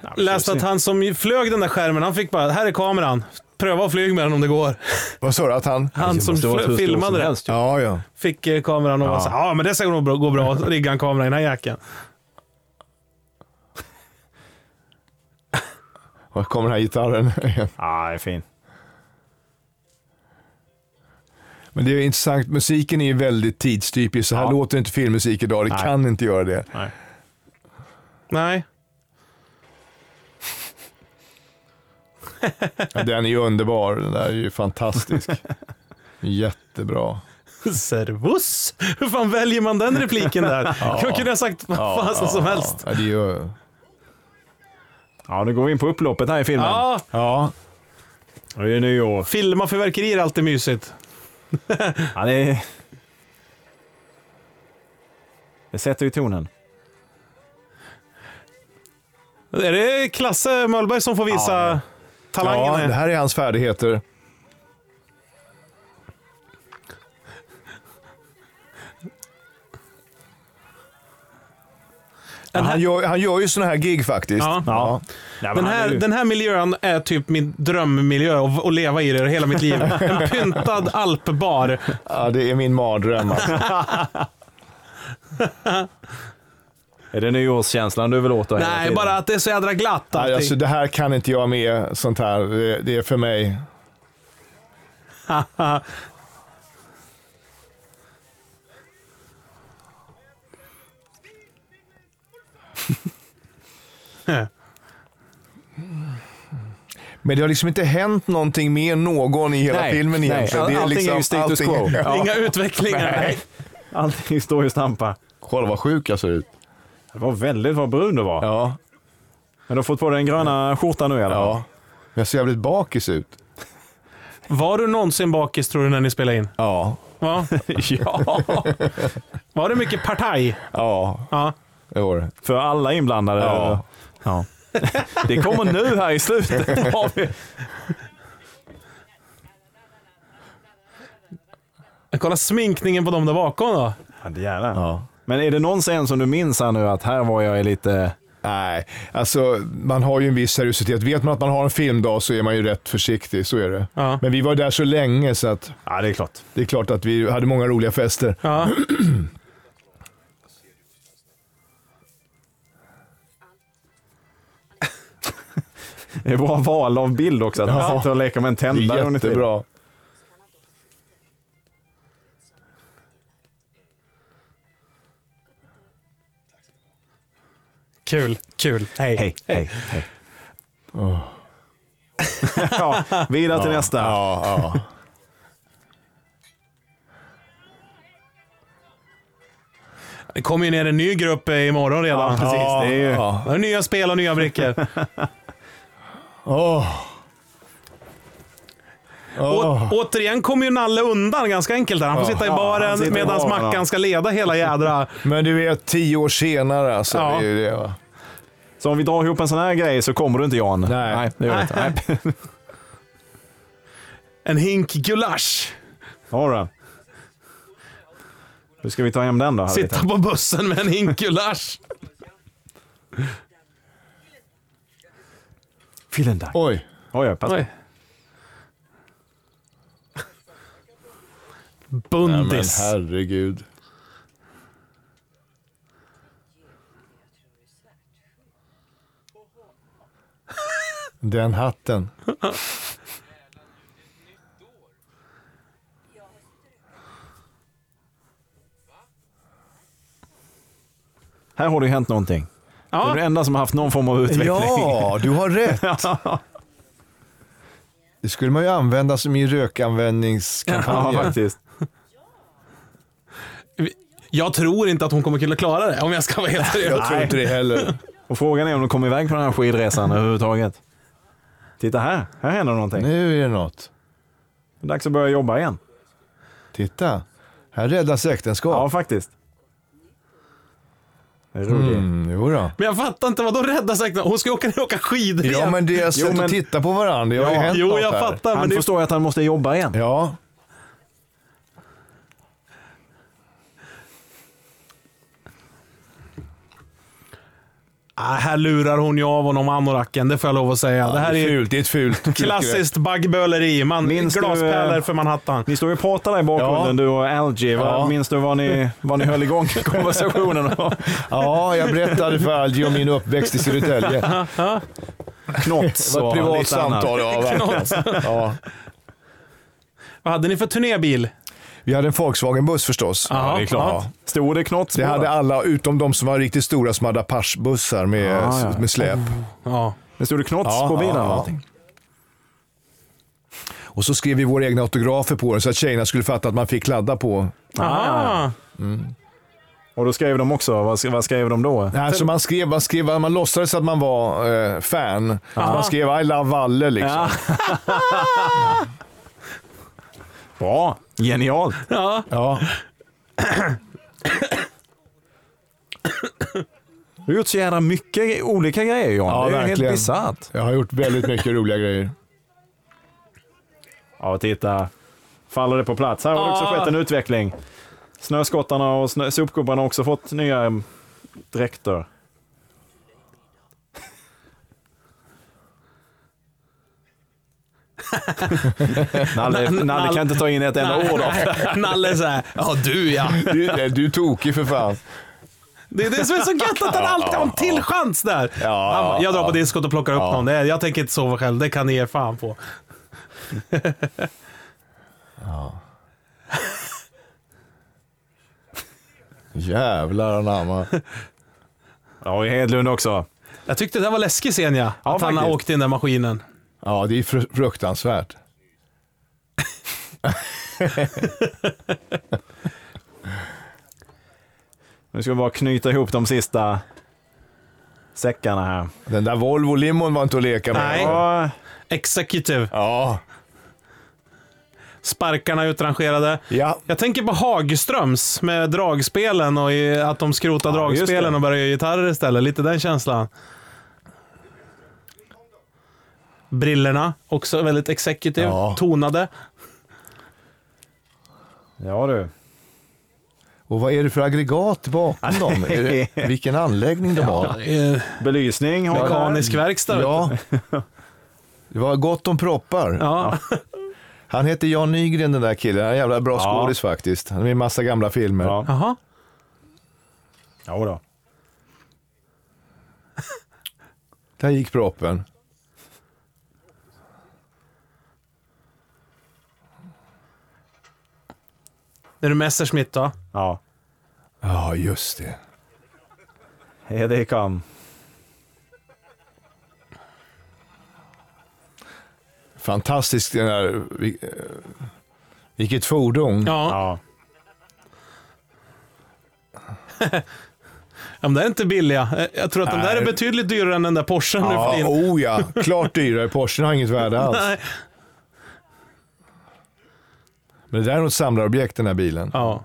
Ja,
[LAUGHS]
men
Läste att
tjusning.
han som ju flög den där skärmen, han fick bara, här är kameran. Pröva att flyga med den om det går.
Vad sa du? Att han...
Han
Det
som
måste vara
flö-
hur stor
filmade
som
det
helst, ju.
Ja, ja.
fick eh, kameran och ja.
Ja.
var så här, ja men det ska nog bra- gå bra. Så riggade han kameran i den här jackan.
Och kommer den här gitarren [LAUGHS] igen.
Ja, Ah, det är fin.
Men det är intressant, musiken är ju väldigt tidstypisk. Så här
Ja.
låter inte filmmusik idag, det
Nej.
kan inte göra det.
Nej.
Nej. [LAUGHS]
Ja, Den är ju underbar, den där är ju fantastisk. Jättebra.
Servus! Hur fan väljer man den repliken
[LAUGHS]
där? Jag kunde ha sagt vad fasen som helst.
Ja, det är ju...
Ja, nu går vi in på upploppet här i filmen.
Ja,
Ja,
Och Det är nyår.
filma fyrverkerier är alltid mysigt.
Ja, det... det sätter ju tonen.
Är det Klasse Möllberg som får visa
Ja, ja.
talangen?
ja det här är hans färdigheter.
Den här-
Han gör, han gör ju såna här gig faktiskt.
Ja.
Ja. Ja, men
Den
han
här,
är ju-
den här miljön är typ min drömmiljö att att leva i det hela mitt liv.
[LAUGHS]
En pyntad alpbar.
Ja, det är min mardröm. alltså.
Är det nyårskänslan du vill åt då hela
Nej,
tiden?
bara att det är så jädra glatt
Nej,
allting.
alltså, det här kan inte jag med, sånt här. Det, det är för mig. Men det har liksom inte hänt någonting med någon i hela
Nej,
filmen
nej.
egentligen. Det
Allting är
liksom-
ju status
allting-
quo.
[LAUGHS]
[LAUGHS]
Ja.
Inga utvecklingar. Nej.
Allting står ju och stampar.
Kolla vad sjuk jag ser ut.
Det var väldigt vad brun du var.
Ja,
Men du har fått på dig den gröna skjortan nu i alla fall.
ja. Jag ser jävligt bakis ut.
Var du någonsin bakis tror du när ni spelade in?
Ja.
[LAUGHS]
Ja. ja. Var det mycket partaj?
Ja,
[LAUGHS]
Ja.
det var det.
För alla inblandade.
Ja.
Ja. [LAUGHS] det kommer nu här
[LAUGHS]
i slutet. Har vi-
Kolla sminkningen på dem där bakom då.
Ja, det är det. Men är det någon scen som du minns här nu att här var jag i lite...
Nej, alltså man har ju en viss seriositet. Vet man att man har en filmdag så är man ju rätt försiktig, så är det.
Ja.
Men vi var där så länge så att
Ja, det är klart.
det är klart att vi hade många roliga fester.
Ja.
Det är bra val av bild också, att han
Ja.
sitter och leker med en
Det
tändare
är
under tiden.
jättebra.
Kul, kul. Hej.
Hej, hej, hej. [LAUGHS] ja, vidare till nästa.
Ja, ja.
Det kommer ju ner en ny grupp eh, imorgon redan.
Ja, precis.
Ja,
det är ju...
ja.
Det är Nya spel och nya brickor.
[LAUGHS] Åh.
Å- återigen kommer ju Nalle undan ganska enkelt där. Han får sitta i
Ja, han sitter
baren
i
medan
baren, ja.
Mackan ska leda hela jädra...
Men du vet, tio år senare alltså.
Ja.
Det är ju det, va?
Så om vi drar ihop en sån här grej så kommer du inte Jan.
Nej.
det gör du inte. Nej.
En hink gulasch.
Har du den? Hur ska vi ta hem den då? Harry?
Sitta på bussen med en hink gulasch.
Vielen Dank.
Oj.
Oj, oj, pass.
Oj. Bundis.
Men herregud. Den hatten.
Här har det ju hänt någonting. Du är
ja.
den enda som har haft någon form av utveckling. [LAUGHS]
Ja, du har rätt.
ja
Det skulle man ju använda som i rökanvändningskampanjer.
faktiskt.
Jag tror inte att hon kommer kunna klara det om jag ska vara helt seriös.
Jag tror inte det heller.
Och frågan är om de kom iväg på den här skidresan överhuvudtaget. Titta här, här händer någonting.
Nu är det något.
Det är dags att börja jobba igen.
Titta, här räddas äktenskap.
Ja, faktiskt. Det är roligt.
Mm, jo då.
Men jag fattar inte, vad då rädda säkert? Hon ska ju åka, åka skidor
Ja,
igen.
men deras
Jo,
sätt
men-
att titta på varandra, det har ju
Ja.
hänt
Jo,
något
jag
här.
fattar. Men
Han
det,
förstår ju att han måste jobba igen.
Ja,
ah, här lurar hon ju av honom anoraken, det får jag lov att säga. det här är ju
fult. Det är ett fult [LAUGHS]
klassiskt baggböleri. Man,
Minns du,
glaspärlor
eh,
för Manhattan.
Ni står ju och pratar där i bakgrunden, du och Algie.
Ja.
Ja. Minns du vad ni, vad ni
[LAUGHS]
höll igång konversationen om?
Ja, jag berättade för Algie om min uppväxt i Södertälje. Det
Knots
var ett
och
privat
lite annat.
samtal. Ja,
[LAUGHS]
verkligen. ja.
Vad hade ni för turnébil?
Vi hade en Volkswagen-buss förstås.
Ja,
Det är klart.
Ja.
Stod det Knots
Det
på
hade
den?
alla, utom de som var riktigt stora som hade Apache-bussar med,
Ah, ja.
med släp.
Ja.
Det stod det Knots på bilen? eller någonting?
Och så skrev vi våra egna autografer på den så att tjejerna skulle fatta att man fick kladda på.
Aha.
Och då skrev de också, vad, sk- vad skrev de då?
Nej, alltså man, skrev, man, skrev, man låtsades att man var eh, fan. Man skrev I love Valle liksom.
Ja. Bra, genialt.
Ja.
Ja.
Du har gjort så jävla mycket gre- olika grejer John.
Ja,
det är ju
verkligen.
helt bisarrt.
Jag har gjort väldigt mycket roliga grejer.
Ja, titta. Faller det på plats. Här har det också
Ah.
skett en utveckling. Snöskottarna och snö, sopgubbarna har också fått nya mm, dräkter. [LAUGHS] Nalle, Nalle kan inte ta in ett enda ord av det.
[LAUGHS] Nalle såhär, ja du ja.
Du, du är tokig för fan.
Det är det som är så gött att han alltid har en till chans där.
Ja,
Han bara, jag drar
ja.
på diskot och plockar upp
Ja.
någon. Det är, jag tänker inte sova själv, det kan ni ge fan på.
Jävlar anamma.
Ja, och Hedlund också.
Jag tyckte det där var läskig scen ja.
Ja,
att han
faktiskt.
åkte in den maskinen.
Ja, det är fru- fruktansvärt.
Nu ska vi bara knyta ihop de sista säckarna här.
Den där Volvo-limon var inte att leka med.
Nej.
Ja,
Executive.
Ja.
Sparkarna utrangerade.
Ja.
Jag tänker på Hagströms med dragspelen och i- att de skrotar
just
dragspelen
det.
och börjar göra gitarrer istället. Lite den känslan. Brillorna också väldigt executive,
Ja.
tonade.
ja du.
Och vad är det för aggregat bakom dem? Är det, vilken anläggning de har?
Belysning har vi där.
Eh, Mekanisk verkstad. vet
Ja. Det var gott om proppar.
du. Ja.
Han heter Jan Nygren den där killen. Han är en jävla bra
Ja.
skådis faktiskt. Han är med i massa gamla filmer.
Ja.
Jaha.
Ja, då.
Där gick proppen.
Är du Messerschmitt då?
ja.
Ja, just det.
Here they come.
Fantastiskt den där... vi- eh, Vilket fordon.
Ja.
Ja.
De där är inte billiga. Eh, Jag tror att de där är
Nej.
betydligt dyrare än den där Porschen nu för [LAUGHS]
Ja,
din.
oh alltså. ja. Klart dyrare. Porschen har inget värde alls.
Nej.
Men det där är något samlarobjekt den här bilen.
Ja.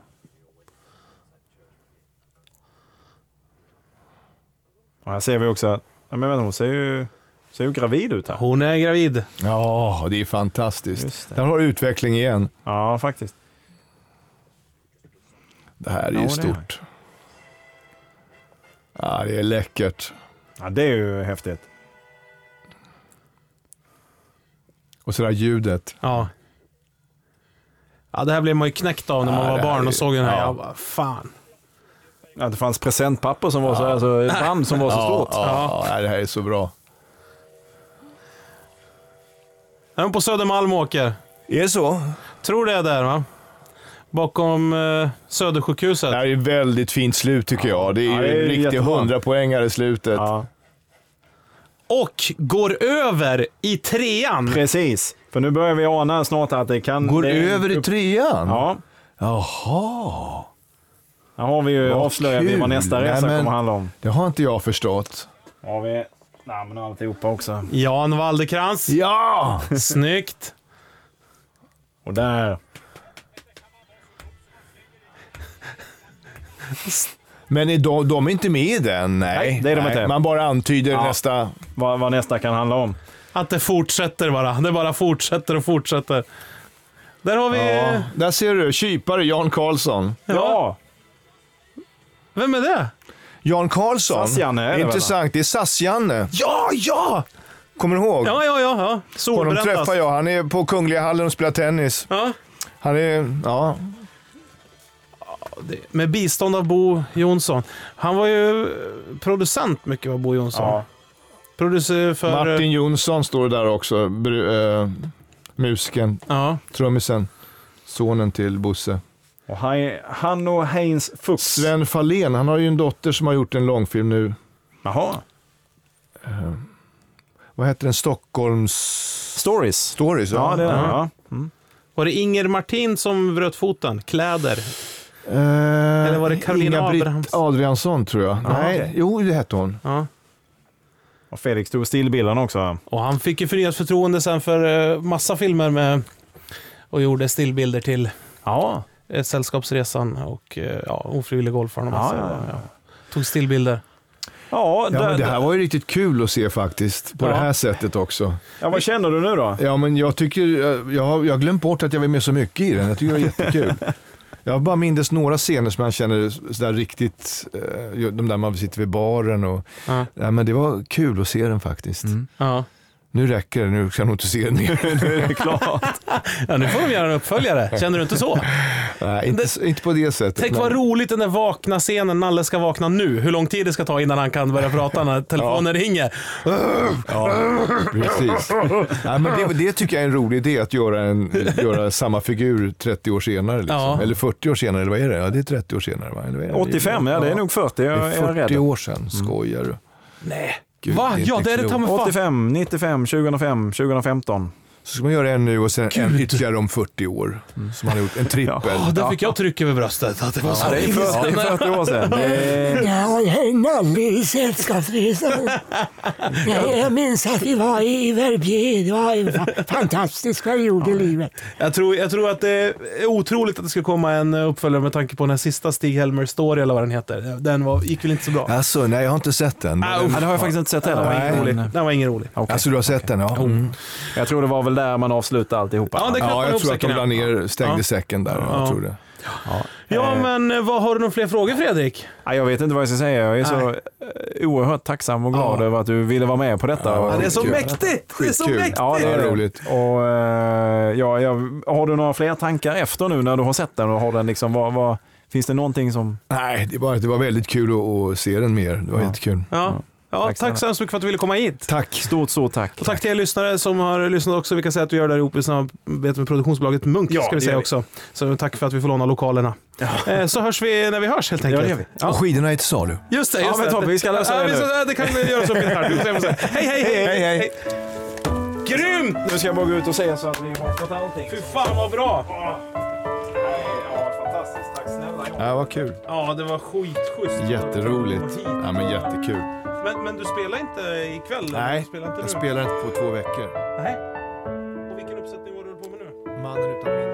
Och här ser vi också att, ja, men vänta, hon ser ju, ser ju gravid ut här.
Hon är gravid.
Ja, det är fantastiskt.
Just det.
Där har du utveckling igen.
Ja, faktiskt.
Det här är
Ja,
ju
det
stort. Ja, det är läckert.
Ja, det är ju häftigt.
Och så det där ljudet.
Ja. Ja, det här blev man ju knäckt av när man
Ja,
var
det här
barn
är
och
ju-
såg den här.
ja.
Jag bara, fan.
Att det fanns presentpapper som var så här, så ett band som var så
Ja,
stort.
ja, ja, det här är så bra.
Är de på Södermalm åker?
Är det så?
Tror det är där va? Bakom eh, Södersjukhuset.
Det här är ett väldigt fint slut tycker jag. Det är ju
Ja, det är
en riktig
jättebra.
hundrapoängare i slutet.
Ja,
Och går över i trean.
precis. För nu börjar vi ana snart att det kan...
Går
det är-
över i trean?
Ja.
Jaha.
Här har vi ju
Vad
avslöjat vi vad
kul.
nästa
Nej,
resa
men-
kommer handla om.
Det har inte jag förstått.
har vi namn och alltihopa också.
Jan Walderkrans.
Ja!
Snyggt.
Och där.
Men är de, de är inte med i den? Nej,
Nej, det är de inte.
Man bara antyder
Ja.
nästa.
Vad, vad nästa kan handla om.
Att det fortsätter bara. Det bara fortsätter och fortsätter. Där har vi...
Ja. Där ser du, kypare Jan Karlsson.
Ja!
Vem är det?
Jan Karlsson.
Sass-Janne är det väl, va?
Intressant, det är SAS-Janne.
Ja, ja!
Kommer du ihåg?
Ja, ja, ja. ja.
Honom
Solbränt
träffar
alltså.
jag. Han är på Kungliga hallen och spelar tennis.
Ja.
Han är, ja,
Med bistånd av Bo Jonsson. Han var ju producent mycket, var Bo Jonsson.
ja.
Producer för...
eh,
Martin Jonsson står där också. Br- eh, musiken,
Ja.
trummisen, sonen till Bosse.
Och han, han och Heinz Fuchs.
Sven Fahlén, han har ju en dotter som har gjort en långfilm nu.
Jaha.
Vad heter den? Stockholms...
Stories.
Stories?
Ja, det är den.
Ja.
Ja.
Var det Inger Martin som bröt foten? Kläder?
Eller
var det Carolina Abrahams?
Adriansson tror jag. Nej,
okej.
jo det hette hon.
Ja.
Och Felix tog stillbilden också.
Och han fick ju förnyat förtroende sen för eh, massa filmer med... Och gjorde stillbilder till
Ja.
eh, Sällskapsresan och eh, ja, Ofrivillig golfaren och massa.
Ja, ja, ja.
Tog stillbilder.
Ja,
Ja,
där,
men det här var ju riktigt kul att se faktiskt, på
Ja.
det här sättet också.
ja, vad känner du nu då?
Ja, men jag tycker, eh, jag, jag har jag har glömt bort att jag var med så mycket i den. Jag tycker det var
[LAUGHS]
jättekul. Jag bara mindes några scener som jag känner sådär riktigt, eh, de där man sitter vid baren och,
Ja.
ja, men det var kul att se den faktiskt.
Mm.
Ja.
Nu räcker det, nu ska jag nog inte se den
[LAUGHS]
mer.
Nu är det klart.
ja, nu får de göra en uppföljare. Känner du inte så?
Nej, inte, inte på det sättet.
Tänk
men-
vad roligt den där vakna scenen, Nalle ska vakna nu. Hur lång tid det ska ta innan han kan börja prata när telefonen ringer.
Precis. Ja, men det, det tycker jag är en rolig idé, att göra,
[LAUGHS]
en, göra samma figur 30 år senare. Liksom.
Ja.
Eller 40 år senare, eller vad är det? Ja, det är 30 år senare. Va? Eller vad är det?
85, ja det är nog 40.
Det
Jag,
är
jag är
40
rädd.
år sedan, skojar du?
Nej.
Gud,
Va?
det är
ja,
inte
det är det ta mig fan.
85, 95, 2005, 2015.
Så ska man göra en nu och sen en ytterligare om 40 år. Som han har gjort, en trippel.
Ja, där fick jag tryck över bröstet. Att det var så
Det är 40, det är 40 år sedan. Det är...
Ja, jag är Nalle i Sällskapsresan. Jag, jag minns att vi var i Verbier. Det var en fa- fantastisk period i livet.
Jag tror, jag tror att det är otroligt att det ska komma en uppföljare med tanke på den här sista Stig-Helmer story eller vad den heter. Den var, gick väl inte så bra.
Alltså, nej jag har inte sett den.
Ah,
Ja, det har jag faktiskt inte sett heller.
Den var ingen rolig.
Men,
Den var ingen rolig.
okej.
Alltså du har sett den? Ja, mm.
Jag tror det var väl där man avslutade alltihopa.
Ja, det kan-
ja
knäppte
jag
ihop
tror att de
säcken,
la
ja.
ner, stängde
Ja.
säcken där. Ja, jag tror det.
Ja, men eh, vad har du några fler frågor Fredrik?
Ja, jag vet inte vad jag ska säga. Jag är så eh, oerhört tacksam och glad över att du ville vara med på detta.
Ja,
Ja,
Och-
det är så
skitkul.
mäktigt! Det är så
Skitkul.
mäktigt!
Ja, det är
Ja,
det.
roligt.
Och, eh, ja, jag, har du några fler tankar efter nu när du har sett den? Och har den liksom, vad, vad, finns det någonting som...
Nej, det var, det var väldigt kul att, att se den mer. Det var jättekul.
Ja. Ja,
Tack
tack så hemskt mycket för att du ville komma hit.
Tack.
Stort, stort tack.
Och tack till er lyssnare som har lyssnat också. Vi kan säga att vi gör det här ihop i samarbete med produktionsbolaget Munk.
Ja,
ska vi
det
säga
gör vi.
också. Så tack för att vi får låna lokalerna. Eh, Så hörs vi när vi hörs helt enkelt.
gör vi.
Och skidorna är till salu.
Just det,
Ja,
just
men
det.
Tobbe, vi ska lösa
ja,
det
vi
nu.
ska- Det kan vi göra som vi här. Vi får se, vi får se. Hej, hej, hej!
Hej, hej.
Grymt!
Nu ska jag bara gå ut och säga så att vi har fått allting.
Fy fan vad bra!
Ja, fantastiskt. Tack snälla.
Ja, vad kul.
Ja, det var skitschysst.
Jätteroligt. Ja, men jättekul.
Men, men du spelar inte ikväll? eller? Du spelar inte nu?
jag spelar inte på två veckor.
Nej. Och vilken uppsättning var du på med nu?
Mannen utan minne.